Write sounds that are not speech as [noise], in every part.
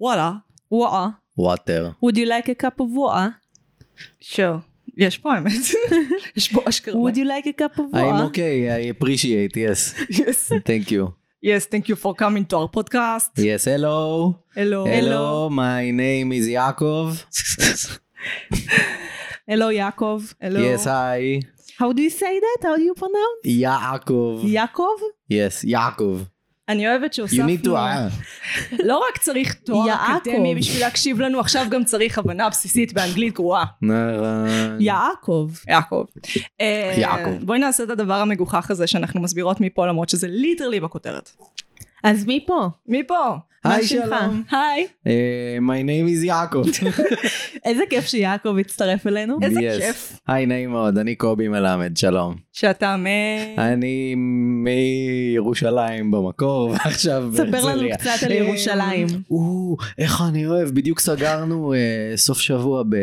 וואלה. וואו. וואטר. Would you like a cup of water? שור. יש פה [laughs] האמת. יש פה אשכרה. Would you like a cup I'm of water? okay, אוקיי, I appreciate, yes. Yes. Thank you. Yes, thank you for coming to our podcast. Yes, hello. Hello. Hello, my name is Yaakov. Hello, יעקב. Hello. Yes, hi. How do you say that? How do you pronounce? Yaakov. יעקב? Yes, Yaakov. אני אוהבת שהוספנו. Mm. You need to... אה, לא רק צריך תואר יעקב. אקדמי בשביל להקשיב לנו, עכשיו גם צריך הבנה בסיסית באנגלית גרועה. נכון. יעקב. יעקב. אה, יעקב. בואי נעשה את הדבר המגוחך הזה שאנחנו מסבירות מפה למרות שזה ליטרלי בכותרת. אז מי פה? מפה. מה היי, שלומך? שלום. היי. אה, My name is [laughs] Yaakov. איזה כיף שיעקב הצטרף אלינו. איזה Yes. כיף. היי, נעים מאוד, אני קובי מלמד, שלום. שאתה מ... אני מירושלים במקור, [laughs] ועכשיו ספר לנו בהרצליה. קצת על ירושלים. אה, או, איך אני אוהב, בדיוק סגרנו אה, סוף שבוע ב-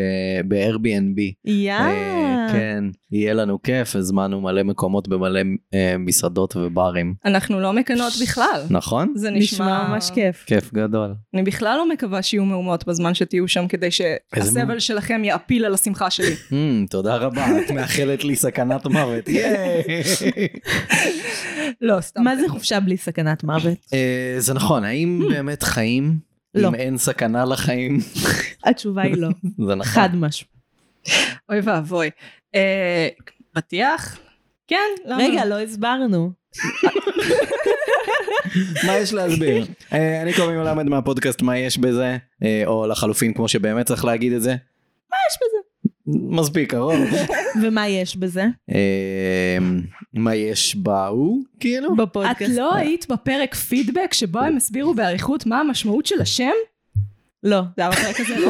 ב-Airbnb. יא. אה, כן, יהיה לנו כיף, הזמנו מלא מקומות במלא אה, מסעדות וברים. אנחנו לא מקנות בכלל. נכון? זה נשמע נשמע ממש כיף. כיף גדול. אני בכלל לא מקווה שיהיו מהומות בזמן שתהיו שם כדי שהסבל מהומות? שלכם יעפיל על השמחה שלי. [laughs] אמ, תודה רבה, את מאחלת לי סכנת מוות. ייי. לא, סתם. מה זה חופשה בלי [laughs] סכנת מוות? אה, זה נכון, האם באמת חיים? Hmm. לא. אם אין סכנה לחיים, [laughs] התשובה היא לא. זה נכון. חד משמעית. אוי ואבוי. אה, פתיח? כן, למה? רגע, לא הסברנו. מה יש להסביר? אה, אני קובי מלמד מהפודקאסט מה יש בזה, אה, או לחלופין כמו שבאמת צריך להגיד את זה. מה יש בזה? מספיק קרוב. לא, ומה יש בזה? אה, מה יש בהוא? כאילו? את בפודקאסט. לא היית בפרק פידבק שבו הם הסבירו באריכות מה המשמעות של השם? לא. זה היה בפרק הזה, לא?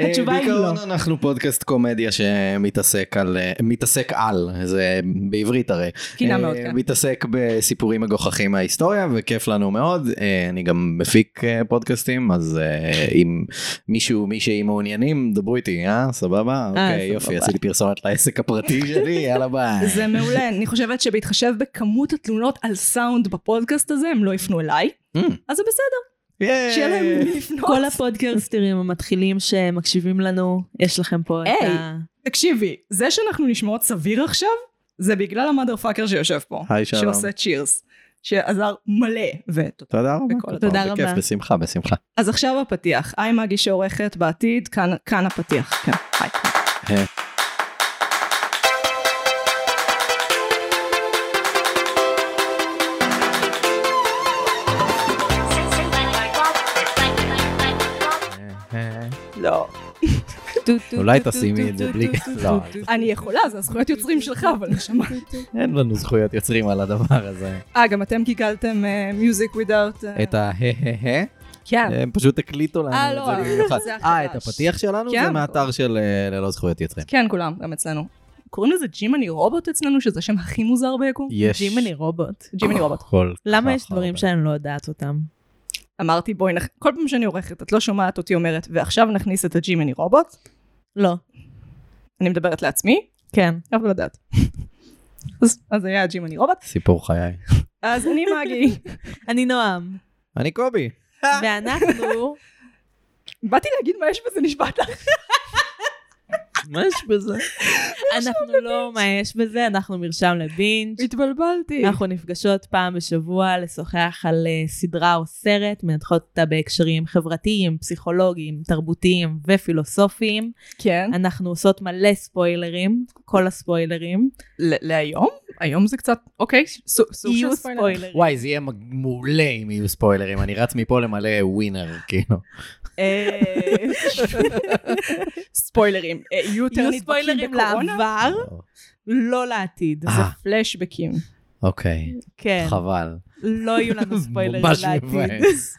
אה, התשובה היא בעיקרון לא. אנחנו פודקאסט קומדיה שמתעסק על, אה, מתעסק על, זה בעברית הרי. קינה אה, מאוד, כן. מתעסק בסיפורים מגוחכים מההיסטוריה וכיף לנו מאוד. אה, אני גם מפיק אה, פודקאסטים אז אה, אם מישהו מישהי מעוניינים דברו איתי אה סבבה אוקיי סבבה. יופי עשיתי פרסומת לעסק הפרטי שלי יאללה ביי. זה מעולה. אני חושבת שבהתחשב בכמות התלונות על סאונד בפודקאסט הזה, הם לא יפנו אליי, Mm, אז זה בסדר, ייי. שיהיה להם למי לפנות. אה, כל הפודקאסטרים המתחילים שמקשיבים לנו, יש לכם פה את היי. ה... תקשיבי, זה שאנחנו נשמעות סביר עכשיו, זה בגלל המאדר פאקר שיושב פה. היי, שלום. שעושה צ'ירס. שעזר מלא, ותודה. תודה רבה. בכל- כל תודה טוב, בכיף, רבה. בשמחה בשמחה. אז עכשיו הפתיח. היי מגי שעורכת בעתיד, כאן, כאן הפתיח. כן, היי. אה, אה, לא. [laughs] אולי תשימי את זה בלי... לא, [laughs] אני יכולה, זה הזכויות יוצרים שלך, אבל נשמה. אין לנו זכויות יוצרים על הדבר הזה. אה, גם אתם אה, קיקלתם מיוזיק ווידאוט... את ה-הה-הה-הה, כן. הם פשוט הקליטו אה, לנו את לא, זה במיוחד. זה החדש. אה, את הפתיח שלנו? כן. זה מהאתר של אה, ללא זכויות יוצרים. כן, כולם, גם אצלנו. קוראים לזה ג'ימני רובוט אצלנו, שזה השם הכי מוזר ביקום? יש נכון, ג'ימני רובוט. ג'ימני רובוט. כל למה כך יש דברים הרבה. שאני לא יודעת אותם? אמרתי, בואי, נכ- כל פעם שאני עורכת, את לא שומעת אותי אומרת, ועכשיו נכניס את הג'ימני רובוט, לא. אני מדברת לעצמי, כן. אבל לדעת. אז- אז היה הג'ימני רובוט, סיפור חיי. אז אני [laughs] מגי. אני נועם. אני קובי. ואנחנו... באתי להגיד מה יש בזה, נשבעת לך. מה יש בזה? אנחנו לא מה יש בזה, אנחנו מרשם לבינג'. התבלבלתי. אנחנו נפגשות פעם בשבוע לשוחח על אה, סדרה או סרט, מנתחות אותה בהקשרים חברתיים, פסיכולוגיים, תרבותיים ופילוסופיים. כן. אנחנו עושות מלא ספוילרים, כל הספוילרים. ל- להיום? היום זה קצת, אוקיי, סו- סוג של יהיו ספוילר. ספוילרים. וואי, זה יהיה מג- מעולה אם יהיו ספוילרים, אני רץ מפה למלא ווינר, כאילו. אה, [laughs] ספוילרים. אה, יהיו יותר יהיו נדבקים ספוילרים בקורונה? לעבר, לא לעתיד. אה. פלשבקים. אוקיי, כן, חבל. לא יהיו [laughs] לנו ספוילרים ממש לעתיד. מבאס.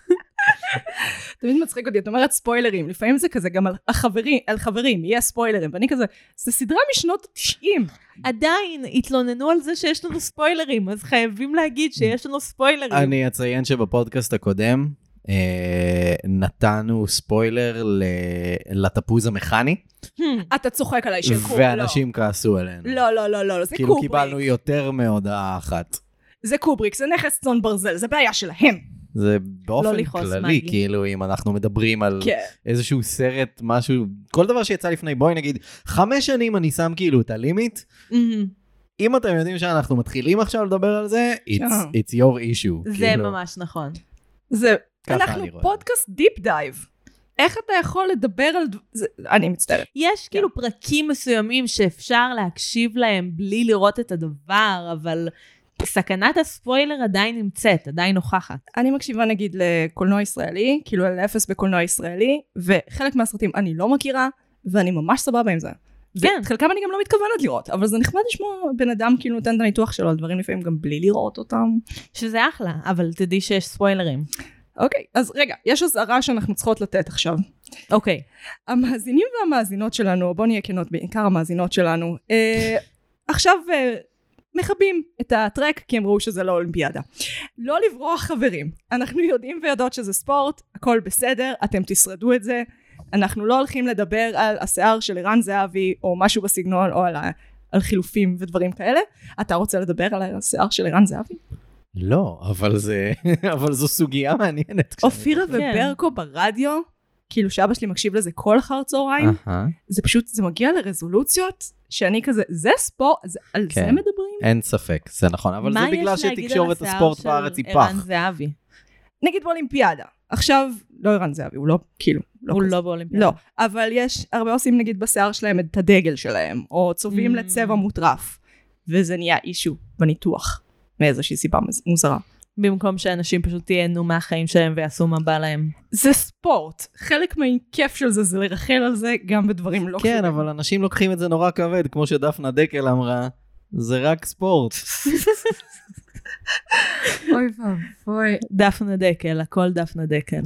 תמיד מצחיק אותי, את אומרת ספוילרים, לפעמים זה כזה גם על החברים, על חברים, יהיה ספוילרים, ואני כזה, זה סדרה משנות ה-90. עדיין התלוננו על זה שיש לנו ספוילרים, אז חייבים להגיד שיש לנו ספוילרים. אני אציין שבפודקאסט הקודם אה, נתנו ספוילר ל- לתפוז המכני, Hmm. אתה צוחק עליי של קוב, ואנשים כעסו עלינו. לא, לא, לא, לא, לא, זה כאילו קובריק. קיבלנו יותר מהודעה אחת. זה קובריק, זה נכס צאן ברזל, זה בעיה שלהם. זה באופן לא לכעוס, כללי, מגי. כאילו אם אנחנו מדברים על כן. איזשהו סרט, משהו, כל דבר שיצא לפני, בואי נגיד, חמש שנים אני שם כאילו את הלימיט, אם אתם יודעים שאנחנו מתחילים עכשיו לדבר על זה, it's, כן. it's your issue. אה. זה כאילו, ממש נכון. זה, ככה אנחנו אני רואה. פודקאסט דיפ דייב. איך אתה יכול לדבר על... דב- זה- אני מצטערת. יש כן. כאילו פרקים מסוימים שאפשר להקשיב להם בלי לראות את הדבר, אבל סכנת הספוילר עדיין נמצאת, עדיין נוכחת. אני מקשיבה נגיד לקולנוע ישראלי, כאילו על אפס בקולנוע ישראלי, וחלק מהסרטים אני לא מכירה, ואני ממש סבבה עם זה. כן. את חלקם אני גם לא מתכוונת לראות, אבל זה נחמד לשמוע בן אדם כאילו נותן את הניתוח שלו על דברים לפעמים גם בלי לראות אותם. שזה אחלה, אבל תדעי שיש ספוילרים. אוקיי, אז רגע, יש אזהרה שאנחנו צריכות לתת עכשיו. אוקיי. המאזינים והמאזינות שלנו, בואו נהיה כנות, בעיקר המאזינות שלנו, אה, עכשיו אה, מכבים את הטרק כי הם ראו שזה לא אולימפיאדה. לא לברוח חברים, אנחנו יודעים ויודעות שזה ספורט, הכל בסדר, אתם תשרדו את זה, אנחנו לא הולכים לדבר על השיער של ערן זהבי או משהו בסגנון או על, ה, על חילופים ודברים כאלה. אתה רוצה לדבר על השיער של ערן זהבי? לא, אבל זה, [laughs] אבל זו סוגיה מעניינת. אופירה חושבת. וברקו ברדיו, כאילו שאבא שלי מקשיב לזה כל אחר צהריים. אהה. זה פשוט, זה מגיע לרזולוציות שאני כזה, זה ספורט, זה, על כן. זה מדברים? אין ספק, זה נכון, אבל זה מה יש בגלל להגיד על שתקשורת השיער הספורט של בארץ היא ערן פח. זהבי. נגיד באולימפיאדה. עכשיו, לא ערן זהבי, הוא לא, כאילו, לא הוא כזה. לא באולימפיאדה. לא, אבל יש, הרבה עושים נגיד בשיער שלהם את הדגל שלהם, או צובעים Mm. לצבע מוטרף, וזה נהיה אישו בניתוח, מאיזושהי סיבה מז- מוזרה. במקום שאנשים פשוט ייהנו מהחיים שלהם ויעשו מה בא להם. זה ספורט, חלק מהכיף של זה זה לרחל על זה גם בדברים לא כן, אבל אנשים לוקחים את זה נורא כבד, כמו שדפנה דקל אמרה, זה רק ספורט. אוי ואבוי. דפנה דקל, הכל דפנה דקל.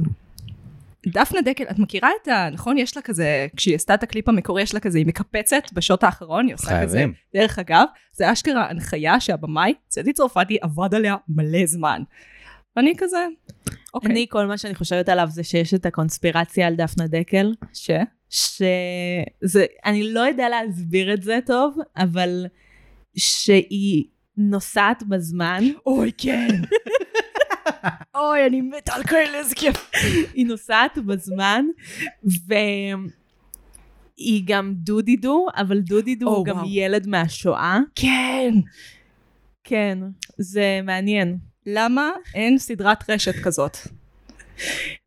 דפנה דקל, את מכירה את ה... נכון? יש לה כזה, כשהיא עשתה את הקליפ המקורי, יש לה כזה, היא מקפצת בשעות האחרון, היא עושה כזה. חייבים. דרך אגב, זה אשכרה הנחיה שהבמאי, צדי צרפתי, עבד עליה מלא זמן. ואני כזה, אוקיי. אני, כל מה שאני חושבת עליו זה שיש את הקונספירציה על דפנה דקל, ש... שזה, אני לא יודע להסביר את זה טוב, אבל שהיא נוסעת בזמן, [laughs] אוי, כן. [laughs] אוי, אני מתה על כאלה, איזה כיף. היא נוסעת בזמן, והיא גם דודידו, אבל דודידו או, הוא גם וואו. ילד מהשואה. כן. כן, זה מעניין. למה אין סדרת רשת כזאת?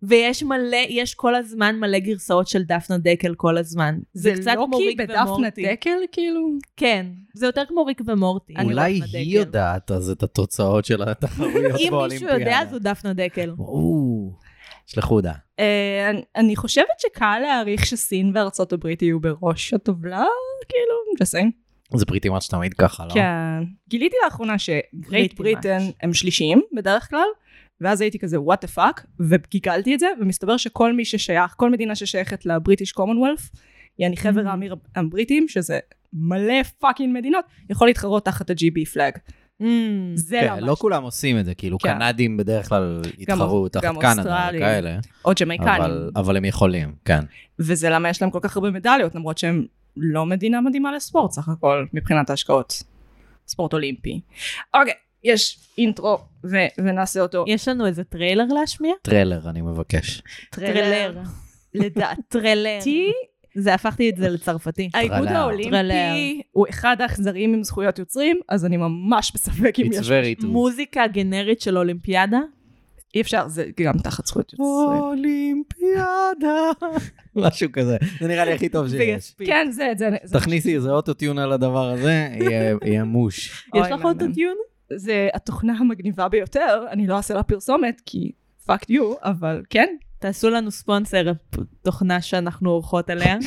ויש מלא, יש כל הזמן מלא גרסאות של דפנה דקל כל הזמן. זה, קצת כמו ריק לא בדפנה ומורטי. דקל, כאילו? כן, זה יותר כמו ריק ומורטי. אני אולי דפנה דקל. היא יודעת אז את התוצאות של התחרויות אם באולימפיאדה. מישהו יודע, זו דפנה דקל. או, שלחו לה. אה, אני- אני חושבת שקל להעריך שסין וארצות הברית יהיו בראש הטובלה, כאילו, בסדר. זה פריטי מאץ' תמיד ככה, לא? כן. גיליתי לאחרונה שגרייט Pretty בריטן הם שלישיים בדרך כלל, ואז הייתי כזה וואט דה פאק, וגיגלתי את זה, ומסתבר שכל מי ששייך, כל מדינה ששייכת לבריטיש קומנוולף, יעני חבר Mm. העמיר הבריטים, שזה מלא פאקינג מדינות, יכול להתחרות תחת ה-GB פלאג. Mm. זה כן, למה. לא כולם עושים את זה, כאילו כן. קנדים בדרך כלל התחרו תחת קנדה אוסטרלים. וכאלה, או ג'מייקנים. אבל- אבל הם יכולים, כן. וזה למה יש להם כל כך הרבה מדליות, למרות שהם לא מדינה מדהימה לספורט סך הכל, מבחינת ההשקעות. ספורט אולימפי. אוקיי, יש אינטרו, ו- ונעשה אותו. יש לנו איזה טריילר להשמיע? טריילר, אני מבקש. טריילר. לדעת. טריילר. לדעתי, זה הפכתי את זה לצרפתי. האיגוד טרלר. האולימפי טרלר. הוא אחד האכזריים עם זכויות יוצרים, אז אני ממש בספק אם It's יש... very true. מוזיקה גנרית של אולימפיאדה? אי אפשר, זה גם תחת זכויות יוצרים. אולימפיאדה. [laughs] משהו כזה. זה נראה לי הכי טוב שיש. ויספיק. כן, זה, זה, זה- תכניסי איזה אוטוטיון על הדבר הזה, יהיה- יהיה מוש. יש אוי, לך מהמם. אוטוטיון? זה התוכנה המגניבה ביותר, אני לא אעשה לה פרסומת, כי פאק יו, אבל כן. תעשו לנו ספונסר פ- תוכנה שאנחנו עורכות עליה.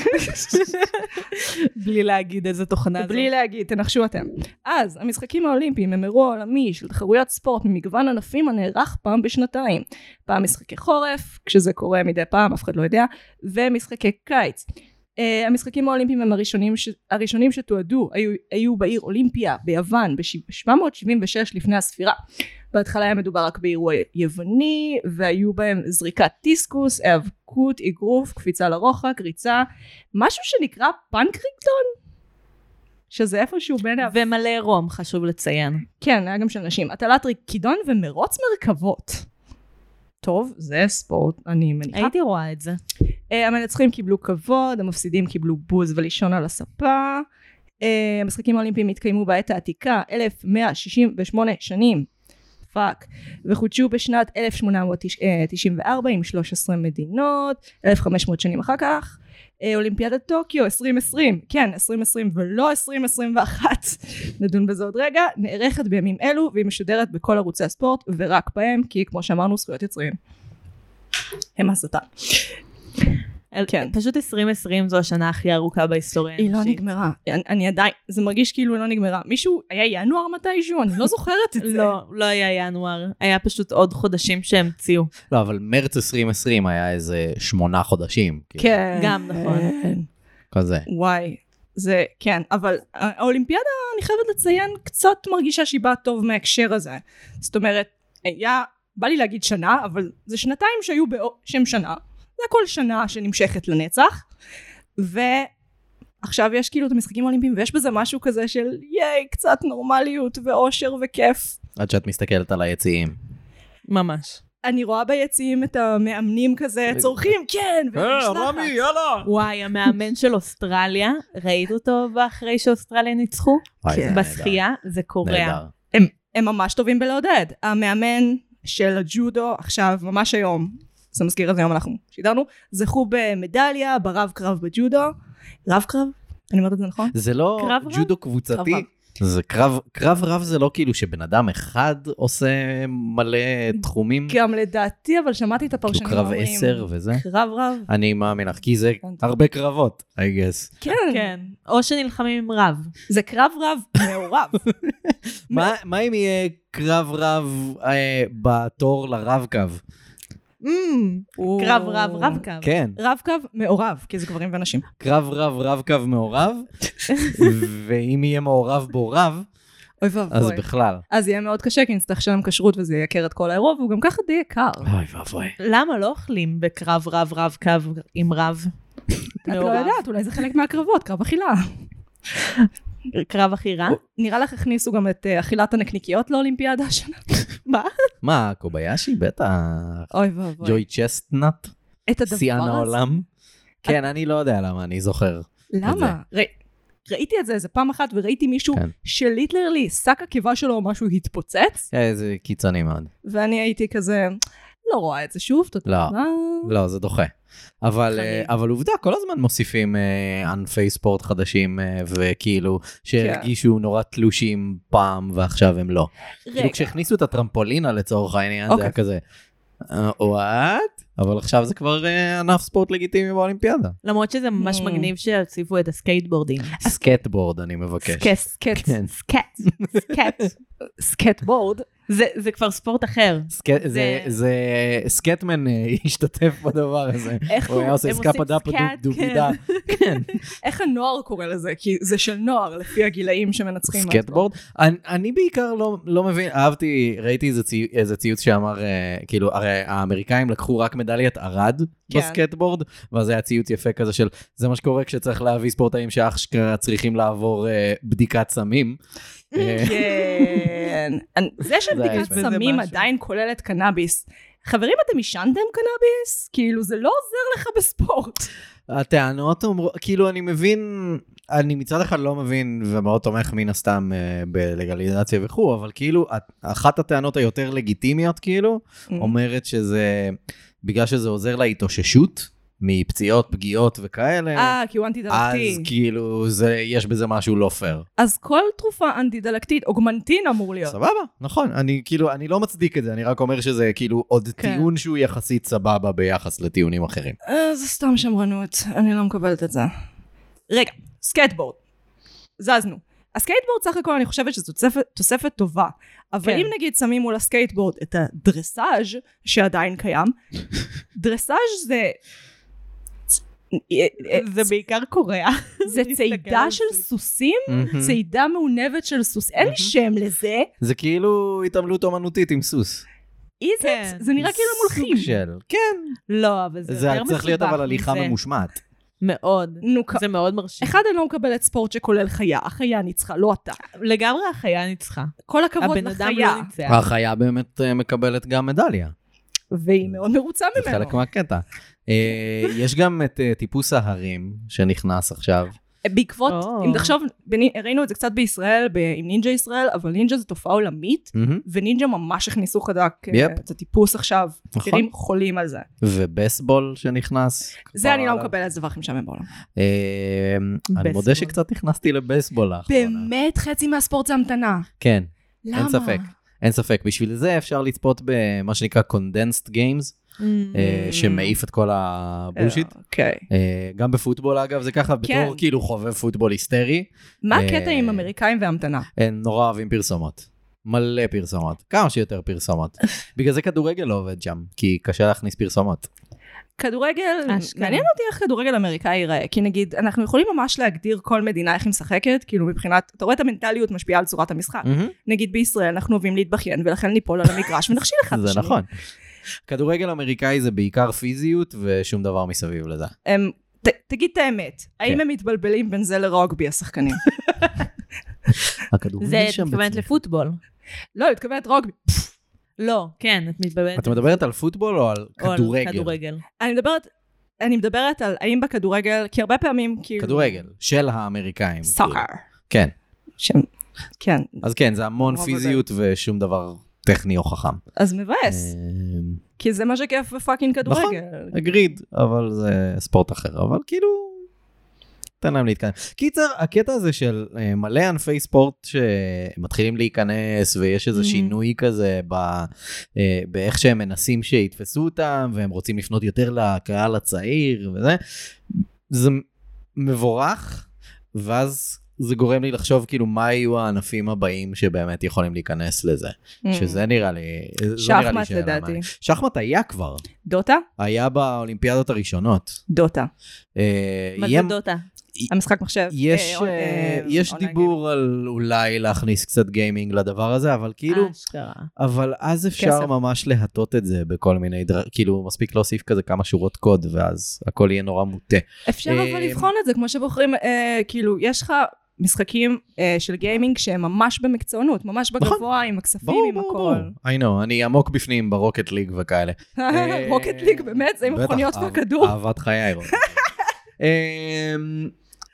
[laughs] בלי להגיד איזה תוכנה זו. בלי להגיד, תנחשו אתם. אז, המשחקים האולימפיים הם אירוע עולמי של תחרויות ספורט ממגוון ענפים הנערך פעם בשנתיים. פעם משחקי חורף, כשזה קורה מדי פעם, אף אחד לא יודע, ומשחקי קיץ. Uh, המשחקים האולימפיים הם הראשונים, ש... הראשונים שתועדו, היו, היו בעיר אולימפיה ביוון ב-776 לפני הספירה. בהתחלה היה מדובר רק באירוע יווני, והיו בהם זריקת דיסקוס, האבקות, אגרוף, קפיצה לרוחק, ריצה, משהו שנקרא פנקריקטון, שזה איפשהו בין... ה- ומלא עירום, חשוב לציין. כן, היה גם של נשים. הטלת ריקידון ומרוץ מרכבות. טוב, זה ספורט, אני מניחה. הייתי רואה את זה. אה, המנצחים קיבלו כבוד, המפסידים קיבלו בוז ולישון על הספה. אה, המשחקים האולימפיים התקיימו בעת העתיקה, 1168 שנים. פאק. וחודשו בשנת 1894 עם 13 מדינות, 1500 שנים אחר כך. אה, אולימפיאדת טוקיו 2020, כן 2020 ולא 2021, [laughs] נדון בזה עוד רגע, נערכת בימים אלו והיא משודרת בכל ערוצי הספורט ורק בהם, כי כמו שאמרנו זכויות יוצרים. הם הסתה. כן. פשוט 2020 זו השנה הכי ארוכה בהיסטוריה. היא לא האנושית. נגמרה, אני- אני עדיין, זה מרגיש כאילו היא לא נגמרה. מישהו, היה ינואר מתישהו? אני לא זוכרת את זה. לא, לא היה ינואר, היה פשוט עוד חודשים שהמציאו. לא, אבל מרץ 2020 היה איזה שמונה חודשים. כאילו, [laughs] כן. גם נכון. כזה. וואי, זה, כן, אבל האולימפיאדה, אני חייבת לציין, קצת מרגישה שהיא באה טוב מההקשר הזה. זאת אומרת, היה, בא לי להגיד שנה, אבל זה שנתיים שהיו בשם שנה. זה הכל שנה שנמשכת לנצח. ועכשיו יש כאילו את המשחקים האולימפיים, ויש בזה משהו כזה של ייי, קצת נורמליות ואושר וכיף. עד שאת מסתכלת על היציעים. ממש. אני רואה ביציעים את המאמנים כזה צורכים, כן, ומשלחת. אה, יאללה! וואי, המאמן של אוסטרליה, ראית אותו אחרי שאוסטרליה ניצחו? בשחייה, זה קורע. אה, נהדר. הם ממש טובים בלעודד. המאמן של הג'ודו עכשיו, ממש היום, זה מזכיר איזה יום אנחנו שידרנו, זכו במדליה ברב קרב בג'ודו. רב קרב? אני אומרת את זה נכון? זה לא קרב רב? ג'ודו קרב רב. קבוצתי. זה קרב, קרב רב זה לא כאילו שבן אדם אחד עושה מלא תחומים, גם לדעתי, אבל שמעתי את כאילו הפרשנים קרב עשר וזה. קרב רב? אני מאמין לך, כי זה הבנתי. הרבה קרבות, I guess. כן. כן. או שנלחמים עם רב. זה קרב רב מעורב. מה- מה אם יהיה קרב רב אה, בתור לרב-קו? קרב רב, רב קו. כן, רב קו מעורב, כי זה גברים ונשים. קרב רב רב-קו מעורב, ואם יהיה מעורב בו רב, אוי אז ואבוי. בכלל. אז יהיה מאוד קשה, כי נצטרך לשלם כשרות וזה ייקר את כל האירוע, והוא גם ככה די יקר. אוי ואבוי. למה לא אוכלים בקרב רב, רב קו עם רב? את לא מעורב. יודעת, אולי זה חלק מהקרבות, קרב [laughs] אכילה. קרב הכי רע? נראה לך הכניסו גם את אה, אכילת הנקניקיות לאולימפיאדה השנה? מה? מה, קוביישי? בטח. אוי ואבוי. ג'וי צ'סטנאט, את הדבר הזה? שיאן העולם. כן, אני לא יודע למה, אני זוכר. למה? ר- ראיתי את זה איזה פעם אחת וראיתי מישהו כן. שליטרלי שק הקיבה שלו או משהו התפוצץ, אה, זה קיצוני מאוד. ואני הייתי כזה, לא רואה את זה שוב, תודה לא. רבה. לא, זה דוחה. אבל, אה, חריג. אבל עובדה, כל הזמן מוסיפים אה, ענפי ספורט חדשים, אה, וכאילו, שהרגישו כן. נורא תלושים פעם, ועכשיו הם לא. כאילו, רגע, כשהכניסו את הטרמפולינה לצורך העניין, זה אוקיי. היה כזה, וואט? אבל עכשיו זה כבר אה, ענף ספורט לגיטימי באולימפיאדה. למרות שזה ממש Mm. מגניב שיוסיפו את הסקייטבורדים. סקטבורד, אני מבקש. סקט, סקט, כן. סקט, סקט. סקטבורד. זה- זה כבר ספורט אחר. סק- זה- זה- זה סקטמן אה, השתתף בדבר הזה. איך הוא היה עושה הם סקה עושים פדה סקאט, דובידה. כן. איך הנוער קורא לזה? כי זה של נוער, לפי הגילאים שמנצחים. סקטבורד. אני- אני בעיקר לא- לא מבין, אהבתי, ראיתי איזה צי- איזה ציוץ שאמר, אה, כאילו, הרי האמריקאים לקחו רק מדליית ערד כן. בסקטבורד, ואז היה ציוץ יפה כזה של, זה מה שקורה כשצריך להביא ספורטאים שאשכרה צריכים לעבור אה, בדיקת סמים. אה, כן. אני- [laughs] זה היה שבדיקת יפה. סמים זה משהו. עדיין כוללת קנאביס. חברים, אתם עישנתם קנאביס? כאילו, זה לא עוזר לך בספורט. הטענות אומרות, כאילו אני מבין, אני מצד אחד לא מבין ומאוד תומך מן הסתם אה, בלגליזציה וכו', אבל כאילו את- אחת הטענות היותר לגיטימיות כאילו, Mm-hmm. אומרת שזה בגלל שזה עוזר להתאוששות מפציעות, פגיעות וכאלה, אה, כי הוא אנטי דלקתי. כן. אז כאילו זה, יש בזה משהו לא פייר. אז כל תרופה אנטי דלקתית, אוגמנטין אמור להיות. סבבה, נכון, אני כאילו, אני לא מצדיק את זה, אני רק אומר שזה כאילו עוד כן. טיעון שהוא יחסית סבבה ביחס לטיעונים [laughs] אחרים. אה, זה סתם שמרנות, אני לא מקבלת את זה. רגע, סקייטבורד. זזנו. הסקייטבורד סך הכל אני חושבת שזו תוספת, תוספת טובה. אבל כן. אם נגיד שמים מול הסקייטבורד את הדרסאז' שעדיין [laughs] קיים, דרסאז' זה... אה, [laughs] זה בעיקר קורע. זה להסתכל צידה על של זה. Hmm. סוסים? צידה מעונבת של סוס, אין לי Mm-hmm. שם לזה. זה כאילו התעמלות אומנותית עם סוס. איזה, כן. זה נראה כאילו הם סוג הולכים. של, כן. לא, אבל זה יותר זה מסובך. צריך להיות אבל הליכה מזה. ממושמעת. כן. מאוד. נו, כ- זה מאוד מרשים. אחד אני לא מקבלת ספורט שכולל חיה, החיה ניצחה, לא אתה. לגמרי החיה ניצחה. כל הכבוד הבן אדם לחיה. לא ניצח. החיה באמת אה, מקבלת גם אה, מדליה. והיא מאוד מרוצה זה ממנו. חלק מהקטע. אה, יש גם את אה, טיפוס ההרים שנכנס עכשיו. בעקבות, או. אם תחשוב, בני- הראינו את זה קצת בישראל, ב- עם נינג'ה ישראל, אבל נינג'ה זו תופעה עולמית, ונינג'ה ממש הכניסו חזק אה, יפ. את הטיפוס עכשיו. נכון. ילדים חולים על זה. ובסבול שנכנס. זה אני כבר לא עליו. מקבלת, זה הדבר הכי משעמם בעולם. אה, אני בסבול. מודה שקצת נכנסתי לבייסבול לאחרונה. באמת חצי מהספורט זה המתנה. כן, למה? אה. אין ספק. אין ספק. בשביל זה אפשר לצפות במה שנקרא condensed games, אה, Mm. שמעיף את כל הבולשיט. אה, אוקיי. אה, גם בפוטבול אגב, זה ככה, כן. בתור כאילו חובב פוטבול היסטרי, מה אה, הקטע עם אמריקאים והמתנה? הם נורא אוהבים פרסומות. מלא פרסומות, כמה שיותר פרסומות. בגלל זה כדורגל לא עובד שם, כי קשה להכניס פרסומות. כדורגל, אשכרה. מעניין אותי איך כדורגל אמריקאי ייראה, כי נגיד, אנחנו יכולים ממש להגדיר כל מדינה איך היא משחקת, כאילו מבחינת, אתה רואה את המנטליות משפיעה על צורת המשחק. נגיד בישראל אנחנו אוהבים להתבכיין ולכן ניפול על המגרש ונכשיל אחד [laughs] את זה השני. נכון. כדורגל אמריקאי זה בעיקר פיזיות ושום דבר מסביב לזה. הם, אמ, ת, תגיד את האמת, כן. האם הם מתבלבלים בין זה לרוגבי השחקנים? [laughs] הכדורגל זה את שם... מתכוונת בצ- לפוטבול. לא, היא מתכוונת רוגבי. לא, כן, את מתבלבלת. את מדברת על פוטבול או על או על כדורגל? כדורגל. אני מדברת, אני מדברת על האם בכדורגל, כי הרבה פעמים כאילו... כדורגל, של האמריקאים. כאילו. סאקר. כן, שם, כן, אז כן, זה המון רוב פיזיות ושום דבר טכני או חכם. אז אה. מבאס, כי זה מה שכיף בפאקינג נכון. כדורגל. אגריד, אבל זה ספורט אחר, אבל כאילו... תן להם להתקדם. קיצר, הקטע הזה של אה, מלא ענפי ספורט שמתחילים להיכנס ויש איזה Mhm. שינוי כזה ב, אה, באיך שהם מנסים שיתפסו אותם והם רוצים לפנות יותר לקהל הצעיר וזה, זה מבורך ואז זה גורם לי לחשוב כאילו מה יהיו הענפים הבאים שבאמת יכולים להיכנס לזה, Mm. שזה נראה לי, זה נראה לי שחמט שאלה לדעתי. מעניינת. שחמט היה כבר. אמ, דוטה? היה באולימפיאדות הראשונות. דוטה. אה, מה יהיה- זה דוטה? המשחק מחשב. יש, אה, און- אה, אה, יש אונליין דיבור על אולי להכניס קצת גיימינג לדבר הזה, אבל כאילו, אשכרה. אבל אז אפשר אה, כסף. ממש להטות את זה בכל מיני דרכים, כאילו מספיק להוסיף כזה כמה שורות קוד ואז הכל יהיה נורא מוטה. גיימינג. אפשר אבל אה, לבחון את זה, כמו שבוחרים, אה, כאילו, יש לך משחקים אה, של גיימינג שהם ממש במקצוענות, ממש בגבוה, עם הכספים, נכון. ברור, עם ברור, ברור. הכל. I know, אני עמוק בפנים ברוקט ליג וכאלה. אה, [laughs] [laughs] רוקט ליג, באמת, זה עם בטח, אה, מכוניות אהב- והכדור. אהבת חיי. [laughs] רון. אמ,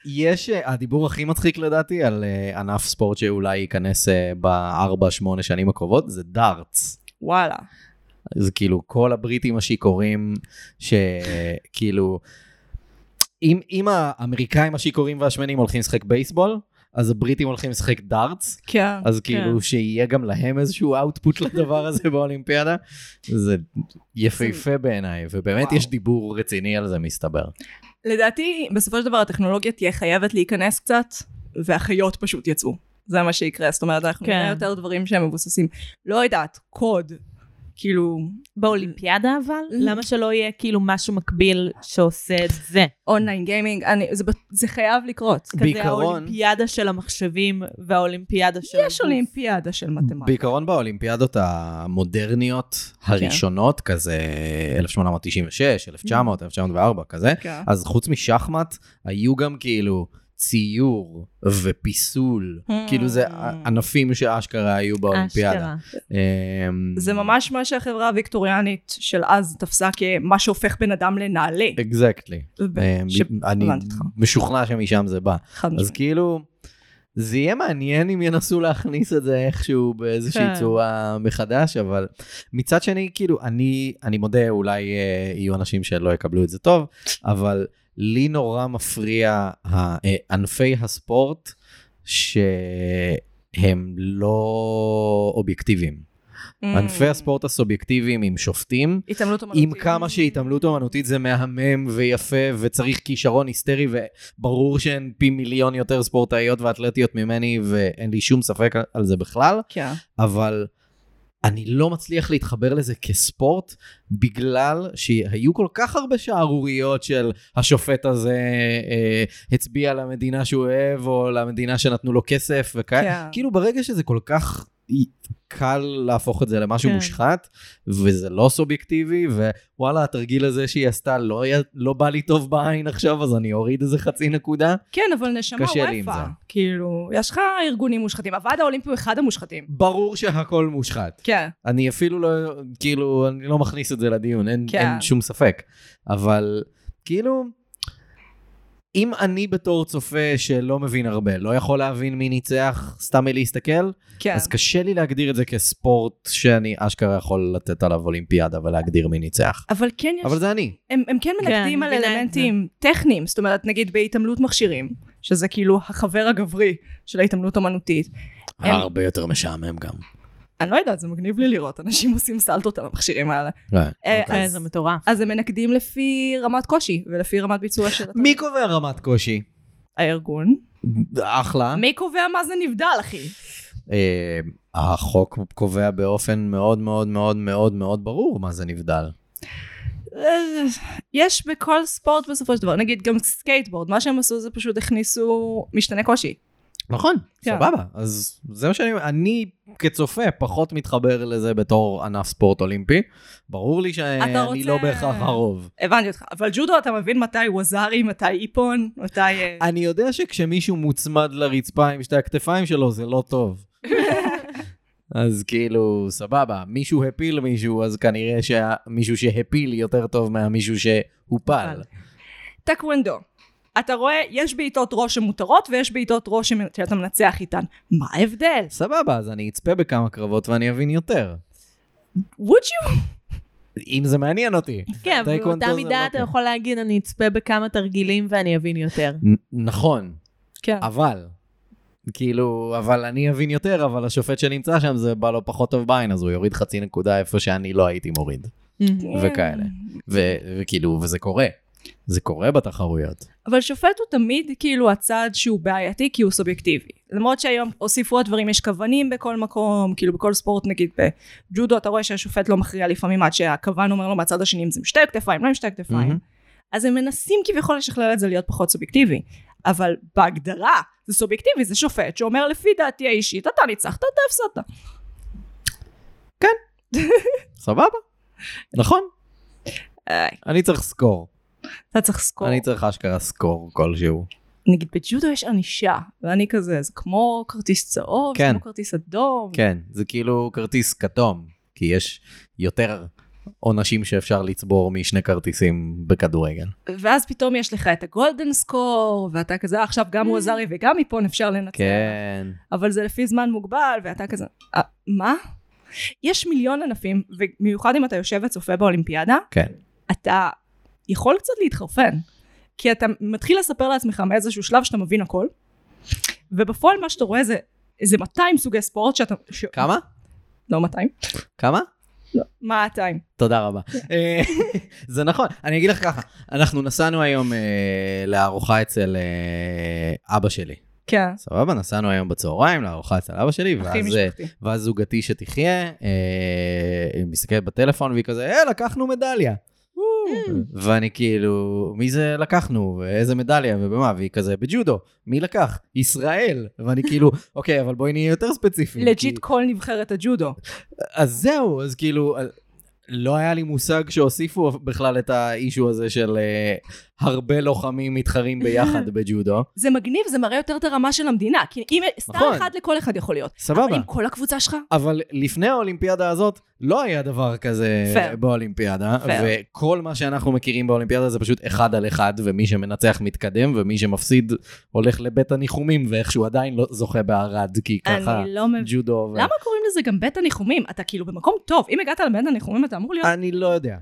יש, אה, הדיבור הכי מצחיק לדעתי על אה, ענף ספורט שאולי ייכנס אה, בארבע, שמונה שנים הקרובות, זה דארטס. וואלה. זה כאילו כל הבריטים השיכורים, שכאילו, אם, אם האמריקאים השיכורים והשמנים הולכים לשחק בייסבול, אז הבריטים הולכים לשחק דארטס, כן. אז כאילו שיהיה גם להם איזשהו [laughs] אאוטפוט לדבר הזה באולימפיאדה. זה יפהפה בעיניי, ובאמת וואו. יש דיבור רציני על זה מסתבר. לדעתי, בסופו של דבר הטכנולוגיה תהיה חייבת להיכנס קצת, והחיות פשוט יצאו. זה מה שיקרה, זאת אומרת, אנחנו כן. נראה יותר דברים שהם מבוססים. לא יודעת, קוד, כאילו, באולימפיאדה אבל? למה שלא יהיה כאילו משהו מקביל שעושה את זה? אונליין גיימינג, אני- זה בט- זה חייב לקרות. כזה בעיקרון- האולימפיאדה של המחשבים והאולימפיאדה של... יש אה, הגוף. אולימפיאדה של מתמטיקה. בעיקרון באולימפיאדות המודרניות כן. הראשונות, כזה 1896, 1900, 1904, כזה, כן. אז חוץ משחמט, היו גם כאילו ציור ופיסול, Hmm. כאילו זה ענפים שאשכרה היו באולימפיאדה. אשכרה. אמ, זה ממש מה שהחברה הוויקטוריאנית של אז תפסה כמה שהופך בן אדם לנעלה. אקזקטלי. ב- אמ, ש- אני הבנתי אותך. משוכנע שמשם זה בא. חד אז משמעית. כאילו, זה יהיה מעניין אם ינסו להכניס את זה איכשהו באיזושהי כן. צורה מחדש, אבל מצד שני, כאילו, אני, אני מודה, אולי אה, יהיו אנשים שלא יקבלו את זה טוב, אבל לי נורא מפריע ה- אה, ענפי הספורט שהם לא אובייקטיביים. Mm. ענפי הספורט הסובייקטיביים עם שופטים, התעמלות אומנותית. עם כמה שהתעמלות אומנותית זה מהמם ויפה וצריך כישרון היסטרי וברור שהן פי מיליון יותר ספורטאיות ואתלטיות ממני ואין לי שום ספק על זה בכלל, כן. אבל אני לא מצליח להתחבר לזה כספורט בגלל שהיו כל כך הרבה שערוריות של השופט הזה אה, הצביע למדינה שהוא אוהב או למדינה שנתנו לו כסף וכאלה, כן. כאילו ברגע שזה כל כך קל להפוך את זה למשהו כן. מושחת, וזה לא סובייקטיבי, ווואלה, התרגיל הזה שהיא עשתה לא, היה- לא בא לי טוב בעין עכשיו, אז אני אוריד איזה חצי נקודה. כן, אבל נשמה קשה לי עם וופא. זה. כאילו, יש לך ארגונים מושחתים. הוועד האולימפי הוא אחד המושחתים. ברור שהכל מושחת. כן. אני אפילו לא, כאילו, אני לא מכניס את זה לדיון, אין, כן. כן. אין שום ספק. אבל כאילו, אם אני בתור צופה שלא מבין הרבה, לא יכול להבין מי ניצח סתם מלהסתכל, כן. אז קשה לי להגדיר את זה כספורט שאני אשכרה יכול לתת עליו אולימפיאדה ולהגדיר מי ניצח. אבל כן יש... אבל זה אני. הם, הם כן כן, מנקדים על מבינה את זה. אלמנטים טכניים, זאת אומרת, נגיד בהתעמלות מכשירים, שזה כאילו החבר הגברי של ההתעמלות אמנותית. הם- הרבה יותר משעמם גם. אני לא יודעת, זה מגניב לי לראות, אנשים עושים סלטות על המכשירים האלה. אה, כן, אוקיי. אז- זה מטורף. אז הם מנקדים לפי רמת קושי ולפי רמת ביצוע של התרגיל. מי קובע רמת קושי? הארגון. אחלה. מי קובע מה זה נבדל, אחי? אה, החוק קובע באופן מאוד מאוד מאוד מאוד מאוד ברור מה זה נבדל. אה, יש בכל ספורט בסופו של דבר, נגיד גם סקייטבורד, מה שהם עשו זה פשוט הכניסו משתנה קושי. נכון, כן. סבבה. אז זה מה שאני אומר, אני כצופה פחות מתחבר לזה בתור ענף ספורט אולימפי. ברור לי אתה שאני רוצה- לא בהכרח הרוב. הבנתי אותך, אבל ג'ודו אתה מבין מתי ווזארי, מתי איפון, מתי... אה, אני יודע שכשמישהו מוצמד לרצפה עם שתי הכתפיים שלו זה לא [laughs] טוב. אז כאילו, סבבה, מישהו הפיל מישהו, אז כנראה שהמישהו שהפיל יותר טוב מהמישהו שהופל. טקוונדו. אתה רואה, יש בעיטות ראש שמותרות ויש בעיטות ראש שמ- שאתה מנצח איתן. מה ההבדל? סבבה, אז אני אצפה בכמה קרבות ואני אבין יותר. would you? אם זה מעניין אותי. כן, אבל טייקוונדו באותה זה מידה לא אתה כן. יכול להגיד, אני אצפה בכמה תרגילים ואני אבין יותר. נ- נכון, כן. אבל, כאילו, אבל אני אבין יותר, אבל השופט שנמצא שם זה בא לו פחות טוב בעין, אז הוא יוריד חצי נקודה איפה שאני לא הייתי מוריד, Mm-hmm. וכאלה. ו- וכאילו, וזה קורה. זה קורה בתחרויות. אבל שופט הוא תמיד כאילו הצד שהוא בעייתי כי הוא סובייקטיבי. למרות שהיום הוסיפו עוד דברים, יש כוונים בכל מקום, כאילו בכל ספורט נגיד בג'ודו אתה רואה שהשופט לא מכריע לפעמים עד שהכוון אומר לו מהצד השני אם זה עם שתי כתפיים, לא עם שתי כתפיים. מהמם. אז הם מנסים כביכול לשכלל את זה להיות פחות סובייקטיבי. אבל בהגדרה זה סובייקטיבי, זה שופט שאומר לפי דעתי האישית אתה ניצחת, אתה הפסדת. סבבה, נכון. איי. אני צריך סקור. אתה צריך לזכור. אני צריך אשכרה סקור כלשהו. נגיד בג'ודו יש ענישה, ואני כזה, זה כמו כרטיס צהוב, כן. זה כמו כרטיס אדום. כן, זה כאילו כרטיס כתום, כי יש יותר עונשים שאפשר לצבור משני כרטיסים בכדורגל. ואז פתאום יש לך את הגולדן סקור, ואתה כזה, "אה, עכשיו גם ווזארי וגם מפון אפשר לנצח. Mm. כן. אבל זה לפי זמן מוגבל, ואתה כזה, "אה, מה? יש מיליון ענפים, ובמיוחד אם אתה יושב וצופה באולימפיאדה, כן. אתה יכול קצת להתחרפן. כי אתה מתחיל לספר לעצמך מאיזשהו שלב שאתה מבין הכל, ובפועל מה שאתה רואה זה איזה 200 סוגי ספורט שאתה... ש... כמה? לא 200. כמה? מה 200? תודה רבה. כן. אה, זה נכון, אני אגיד לך ככה, אנחנו נסענו היום אה, לארוחה אצל אה, אבא שלי. כן. סבבה? נסענו היום בצהריים לארוחה אצל אבא שלי, הכי ואז אה, משפחתי. ואז זוגתי שתחיה, אה, היא מסתכלת בטלפון והיא כזה, אה, לקחנו מדליה. ואני כאילו, מי זה לקחנו, ואיזה מדליה, ובמה, והיא כזה, בג'ודו, מי לקח? ישראל. ואני כאילו, אוקיי, אבל בואי נהיה יותר ספציפיים. לג'יט כי- כל נבחרת הג'ודו. אז זהו, אז כאילו, אה, לא היה לי מושג שהוסיפו בכלל את האישו הזה של אה, הרבה לוחמים מתחרים [laughs] ביחד בג'ודו. זה מגניב, זה מראה יותר את הרמה של המדינה. כי אם סטאר נכון. אחד לכל אחד יכול להיות. אבל סבבה. עם כל הקבוצה שלך? אבל לפני האולימפיאדה הזאת לא היה דבר כזה Fair. באולימפיאדה, Fair. וכל מה שאנחנו מכירים באולימפיאדה זה פשוט אחד על אחד, ומי שמנצח מתקדם, ומי שמפסיד הולך לבית הניחומים, ואיכשהו עדיין לא זוכה בערד, כי ככה אני לא מבין. ג'ודו... ו... למה קוראים לזה גם בית הניחומים? אתה כאילו במקום טוב. אם הגעת לבית הניחומים אתה אמור להיות... אני לא יודע.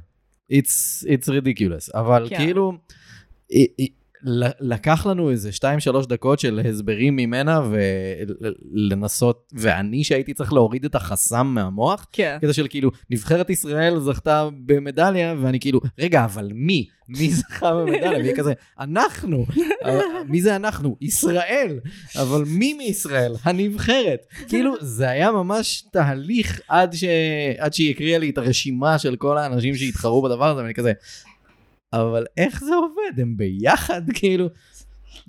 It's, it's ridiculous, אבל כן. כן. כאילו, אה, אה, ל- לקח לנו איזה 2-3 דקות של הסברים ממנה ולנסות, ואני שהייתי צריך להוריד את החסם מהמוח, כן. קטע של כאילו, נבחרת ישראל זכתה במדליה, ואני כאילו, רגע, אבל מי? מי זכה [laughs] במדליה? והיא כזה, אנחנו. אבל מי זה אנחנו? ישראל. אבל מי מישראל? הנבחרת. כאילו, זה היה ממש תהליך עד, ש... עד שהיא הקריאה לי את הרשימה של כל האנשים שהתחרו בדבר הזה, ואני כזה, אבל איך זה עובד? הם ביחד, [laughs] כאילו.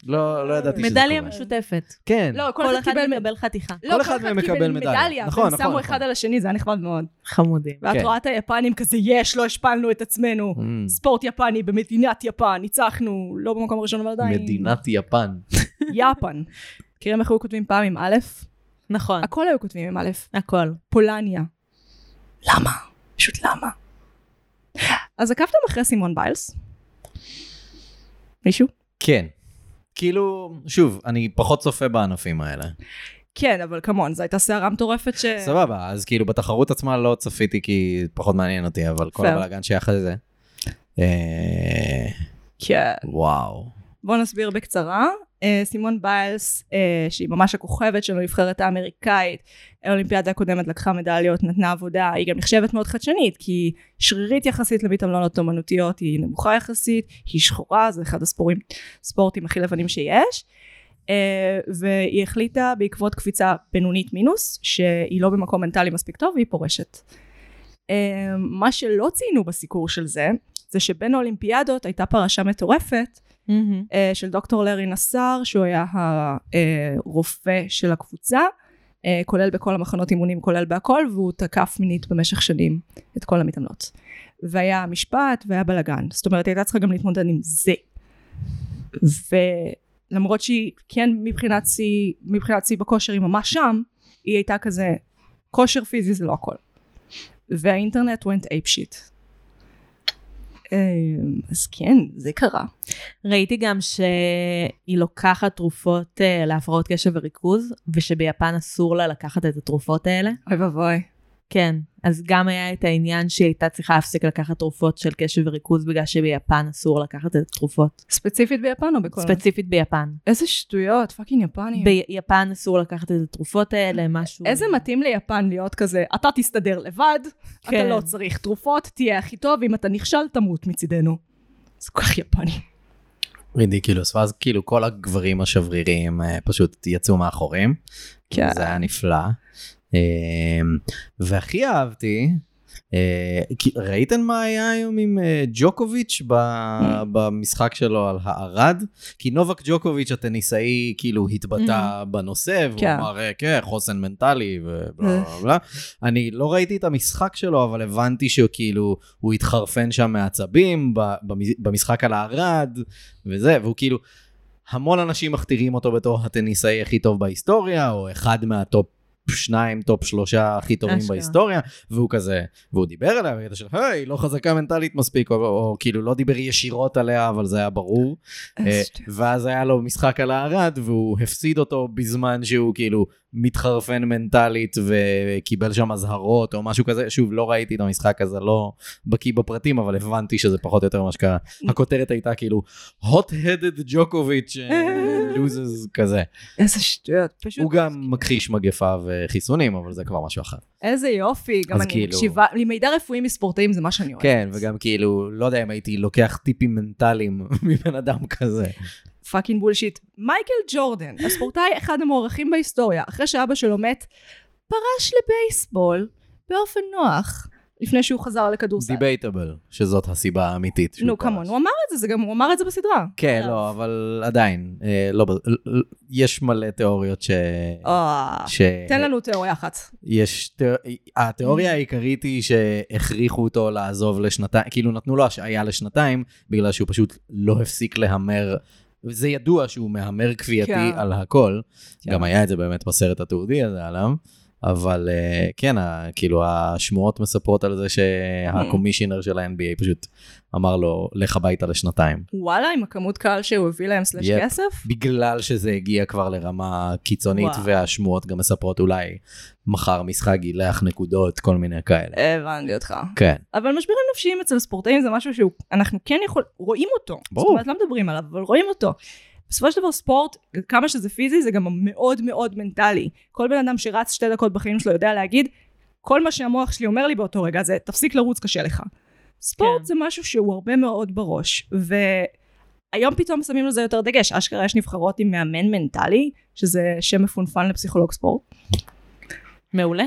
לא, לא ידעתי שזה קורה. מדליה משותפת. כן. לא, כל כל אחד אחד קיבל... מקבל חתיכה. לא, כל אחד מהם מקבל מדליה. נכון, והם נכון, שמו נכון. אחד על השני, זה היה נחמד מאוד. חמודים. ואת כן. רואה את היפנים כזה, יש, לא השפלנו את עצמנו. Mm. ספורט יפני במדינת יפן, ניצחנו, לא במקום הראשון, אבל עדיין. מדינת יפן. יפן. מכירים איך היו כותבים פעם עם א'? אה. נכון, הכל היו כותבים עם א'. הכל. פולניה. למה? פשוט למה? אז עקבתם אחרי סימון ביילס? מישהו? כן. כאילו, שוב, אני פחות צופה בענפים האלה. כן, אבל כמון, זו הייתה סערה מטורפת ש... סבבה, אז כאילו בתחרות עצמה לא צפיתי כי פחות מעניין אותי, אבל כל Fair. הבלאגן שהיה אחרי זה. אה, כן. וואו. בואו נסביר בקצרה. אה, סימון ביילס, אה, שהיא ממש הכוכבת של הנבחרת האמריקאית, האולימפיאדה הקודמת לקחה מדליות, נתנה עבודה, היא גם נחשבת מאוד חדשנית, כי היא שרירית יחסית למתעמלונות אומנותיות, היא נמוכה יחסית, היא שחורה, זה אחד הספורטים ספורטים הכי לבנים שיש. אה, והיא החליטה בעקבות קפיצה בינונית מינוס, שהיא לא במקום מנטלי מספיק טוב והיא פורשת. אה, מה שלא ציינו בסיקור של זה, זה שבין האולימפיאדות הייתה פרשה מטורפת מהמם. אה, של דוקטור לארי נסאר, שהוא היה הרופא של הקבוצה, אה, כולל בכל המחנות אימונים, כולל בהכל, והוא תקף מינית במשך שנים את כל המתעמלות. והיה משפט והיה בלאגן. זאת אומרת, היא הייתה צריכה גם להתמודד עם זה. ולמרות שהיא כן מבחינת שיא, מבחינת שיא בכושר היא ממש שם, היא הייתה כזה, כושר פיזי זה לא הכל. והאינטרנט went ape shit. אה, אז כן, זה קרה. ראיתי גם שהיא לוקחת תרופות אה, להפרעות קשב וריכוז, ושביפן אסור לה לקחת את התרופות האלה. אוי ואבוי. כן, אז גם היה את העניין שהיא הייתה צריכה להפסיק לקחת תרופות של קשב וריכוז בגלל שביפן אסור לקחת את התרופות. ספציפית ביפן או בכל... ספציפית ביפן. איזה שטויות, פאקינג יפנים. ביפן אסור לקחת את התרופות האלה, משהו... איזה מתאים ליפן להיות כזה, אתה תסתדר לבד, אתה כן. לא צריך תרופות, תהיה הכי טוב, אם אתה נכשל, תמות מצידנו. זה כל כך יפני. רידיקולוס, ואז כאילו כל הגברים השבריריים אה, פשוט יצאו מאחורים. כן. זה היה נפלא. אה, והכי אהבתי, אה, כי- ראיתם מה היה היום עם אה, ג'וקוביץ' ב- Mm. במשחק שלו על הערד? כי נובק ג'וקוביץ' הטניסאי כאילו התבטא בנושא, והוא Mm. כן. אה. אמר, אה, כן, חוסן מנטלי ובלה בלה בלה. אני לא ראיתי את המשחק שלו, אבל הבנתי שכאילו הוא התחרפן שם מעצבים ב- במ- במשחק על הערד, וזה, והוא כאילו, המון אנשים מכתירים אותו בתור הטניסאי הכי טוב בהיסטוריה, או אחד מהטופ שניים, טופ שלושה הכי טובים אשכרה. בהיסטוריה, והוא כזה, והוא דיבר עליה בקטע של, היי, לא חזקה מנטלית מספיק, או, או, או כאילו לא דיבר ישירות עליה, אבל זה היה ברור. אה, ואז היה לו משחק על הערד, והוא הפסיד אותו בזמן שהוא כאילו מתחרפן מנטלית וקיבל שם אזהרות או משהו כזה. שוב, לא ראיתי את המשחק הזה, לא בקיא בפרטים, אבל הבנתי שזה פחות או יותר מה שקרה. הכותרת הייתה כאילו, hot-headed ג'וקוביץ' לוזז כזה. איזה שטויות, פשוט. הוא גם מכחיש מגפה וחיסונים, אבל זה כבר משהו אחר. איזה יופי, גם אז אני כאילו- מקשיבה, מידע רפואי מספורטאים זה מה שאני אוהבת. כן, וגם כאילו, לא יודע אם הייתי לוקח טיפים מנטליים [laughs] מבן אדם כזה. פאקינג בולשיט. מייקל ג'ורדן, הספורטאי אחד המוערכים בהיסטוריה, אחרי שאבא שלו מת, פרש לבייסבול באופן נוח, לפני שהוא חזר לכדורסל. דיבייטבל, שזאת הסיבה האמיתית. שהוא נו, פרש. כמון, הוא אמר את זה, זה גם, הוא אמר את זה בסדרה. כן, לא, אבל עדיין, אה, לא, ב- ל- ל- יש מלא תיאוריות ש... אה, ש... תן לנו Mm. תיאוריה אחת. יש... תיא- התיאוריה העיקרית היא שהכריחו אותו לעזוב לשנתיים, כאילו נתנו לו השעיה לשנתיים, בגלל שהוא פשוט לא הפסיק להמר. זה ידוע שהוא מהמר כפייתי כן. על הכל, כן. גם היה את זה באמת בסרט התיעודי הזה עליו, אבל אה, כן, ה- כאילו השמועות מספרות על Mm. זה שהקומישיונר של ה-NBA פשוט אמר לו, לך הביתה לשנתיים. וואלה, עם הכמות קהל שהוא הביא להם סלש יפ. כסף? בגלל שזה הגיע כבר לרמה קיצונית, וואו. והשמועות גם מספרות אולי מחר משחק גילח נקודות, כל מיני כאלה. הבנתי אותך. כן. אבל משברים נפשיים אצל ספורטאים זה משהו שאנחנו כן יכול, רואים אותו. זאת ברור. אומרת, לא מדברים עליו, אבל רואים אותו. בסופו של דבר ספורט, כמה שזה פיזי, זה גם מאוד מאוד מנטלי. כל בן אדם שרץ שתי דקות בחיים שלו יודע להגיד, כל מה שהמוח שלי אומר לי באותו רגע זה, תפסיק לרוץ, קשה לך. ספורט כן. זה משהו שהוא הרבה מאוד בראש, והיום פתאום שמים לזה יותר דגש. אשכרה יש נבחרות עם מאמן מנטלי, שזה שם מפונפן לפסיכולוג ספורט. מעולה.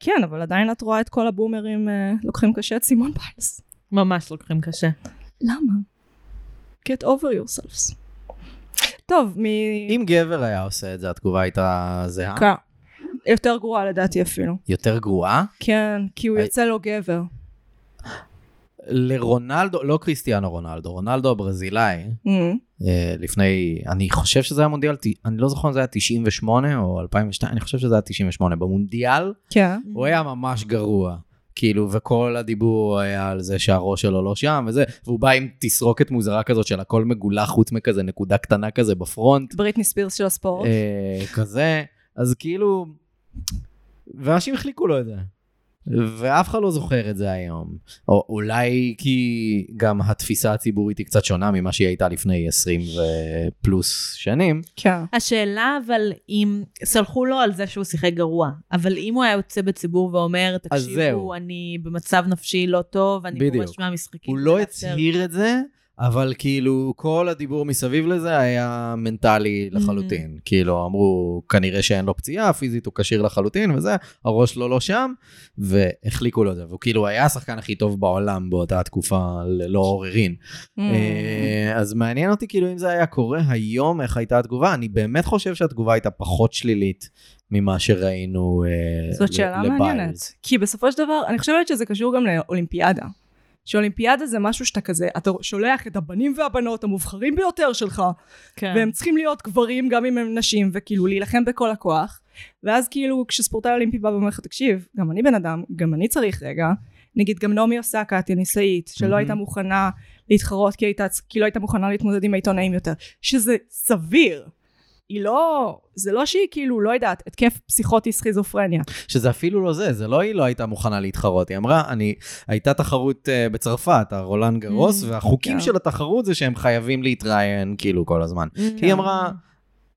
כן, אבל עדיין את רואה את כל הבומרים אה, לוקחים קשה את סימון ביילס. אה. ממש לוקחים קשה. למה? Get over yourselves. טוב, מ... אם גבר היה עושה את זה, התגובה הייתה זהה? קה. יותר גרועה לדעתי אפילו. יותר גרועה? כן, כי הוא הי- יוצא לו גבר. לרונלדו, לא קריסטיאנו רונלדו, רונלדו הברזילאי, אמ, אה, לפני, אני חושב שזה היה מונדיאל, ת- אני לא זוכר אם זה היה 98 או 2002, אני חושב שזה היה 98. במונדיאל כן. הוא היה ממש גרוע. כאילו, וכל הדיבור היה על זה שהראש שלו לא שם וזה, והוא בא עם תסרוקת מוזרה כזאת של הכל מגולה חוץ מכזה נקודה קטנה כזה בפרונט, בריטני ספירס של הספורט. אה, כזה, אז כאילו, ואנשים החליקו לו את זה. ואף אחד לא זוכר את זה היום. או אולי כי גם התפיסה הציבורית היא קצת שונה ממה שהיא הייתה לפני 20 ופלוס שנים. כן. השאלה אבל אם, סלחו לו על זה שהוא שיחק גרוע, אבל אם הוא היה יוצא בציבור ואומר, אז תקשיבו, זהו. אני במצב נפשי לא טוב, אני בדיוק. פורש מהמשחקים. כאילו, הוא לא לאפשר." הצהיר את זה, אבל כאילו כל הדיבור מסביב לזה היה מנטלי Mhm. לחלוטין. כאילו אמרו, כנראה שאין לו פציעה, פיזית הוא כשיר לחלוטין וזה, הראש שלו לא שם, והחליקו לו את זה. והוא כאילו היה השחקן הכי טוב בעולם באותה תקופה ללא עוררין. Mm. אמ, אה, אז מעניין אותי כאילו אם זה היה קורה היום, איך הייתה התגובה. אני באמת חושב שהתגובה הייתה פחות שלילית ממה שראינו אה, זאת ל- שאלה לביילס. מעניינת. כי בסופו של דבר, אני חושבת שזה קשור גם לאולימפיאדה. שאולימפיאדה זה משהו שאתה כזה, אתה שולח את הבנים והבנות המובחרים ביותר שלך, כן. והם צריכים להיות גברים גם אם הם נשים, וכאילו להילחם בכל הכוח. ואז כאילו כשספורטאי אולימפי בא ואומר לך, תקשיב, גם אני בן אדם, גם אני צריך רגע. נגיד גם נעמי אוסקה, הטניסאית, שלא מהמם. הייתה מוכנה להתחרות כי, הייתה, כי לא הייתה מוכנה להתמודד עם העיתונאים יותר, שזה סביר. היא לא, זה לא שהיא כאילו, לא יודעת, התקף פסיכוטי סכיזופרניה. שזה אפילו לא זה, זה לא היא לא הייתה מוכנה להתחרות, היא אמרה, אני, הייתה תחרות uh, בצרפת, הרולן גרוס, Mm, והחוקים כן. של התחרות זה שהם חייבים להתראיין כאילו כל הזמן. Mm. כן. היא אמרה,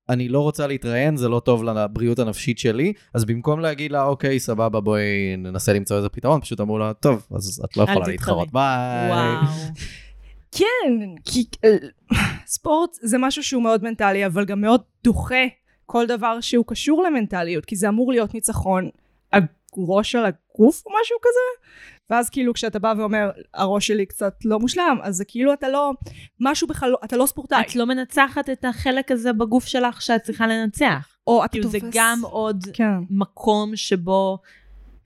אני לא רוצה להתראיין, זה לא טוב לבריאות הנפשית שלי, אז במקום להגיד לה, אוקיי, סבבה, בואי ננסה למצוא איזה פתרון, פשוט אמרו לה, טוב, אז את לא אל יכולה תתחרי." להתחרות, ביי. וואו. כן, כי ספורט זה משהו שהוא מאוד מנטלי, אבל גם מאוד דוחה כל דבר שהוא קשור למנטליות, כי זה אמור להיות ניצחון הראש על הגוף או משהו כזה, ואז כאילו כשאתה בא ואומר, הראש שלי קצת לא מושלם, אז זה כאילו אתה לא, משהו בכלל, לא- אתה לא ספורטאי, את לא מנצחת את החלק הזה בגוף שלך שאת צריכה לנצח. או אתה כאילו תופס. זה גם עוד כן. מקום שבו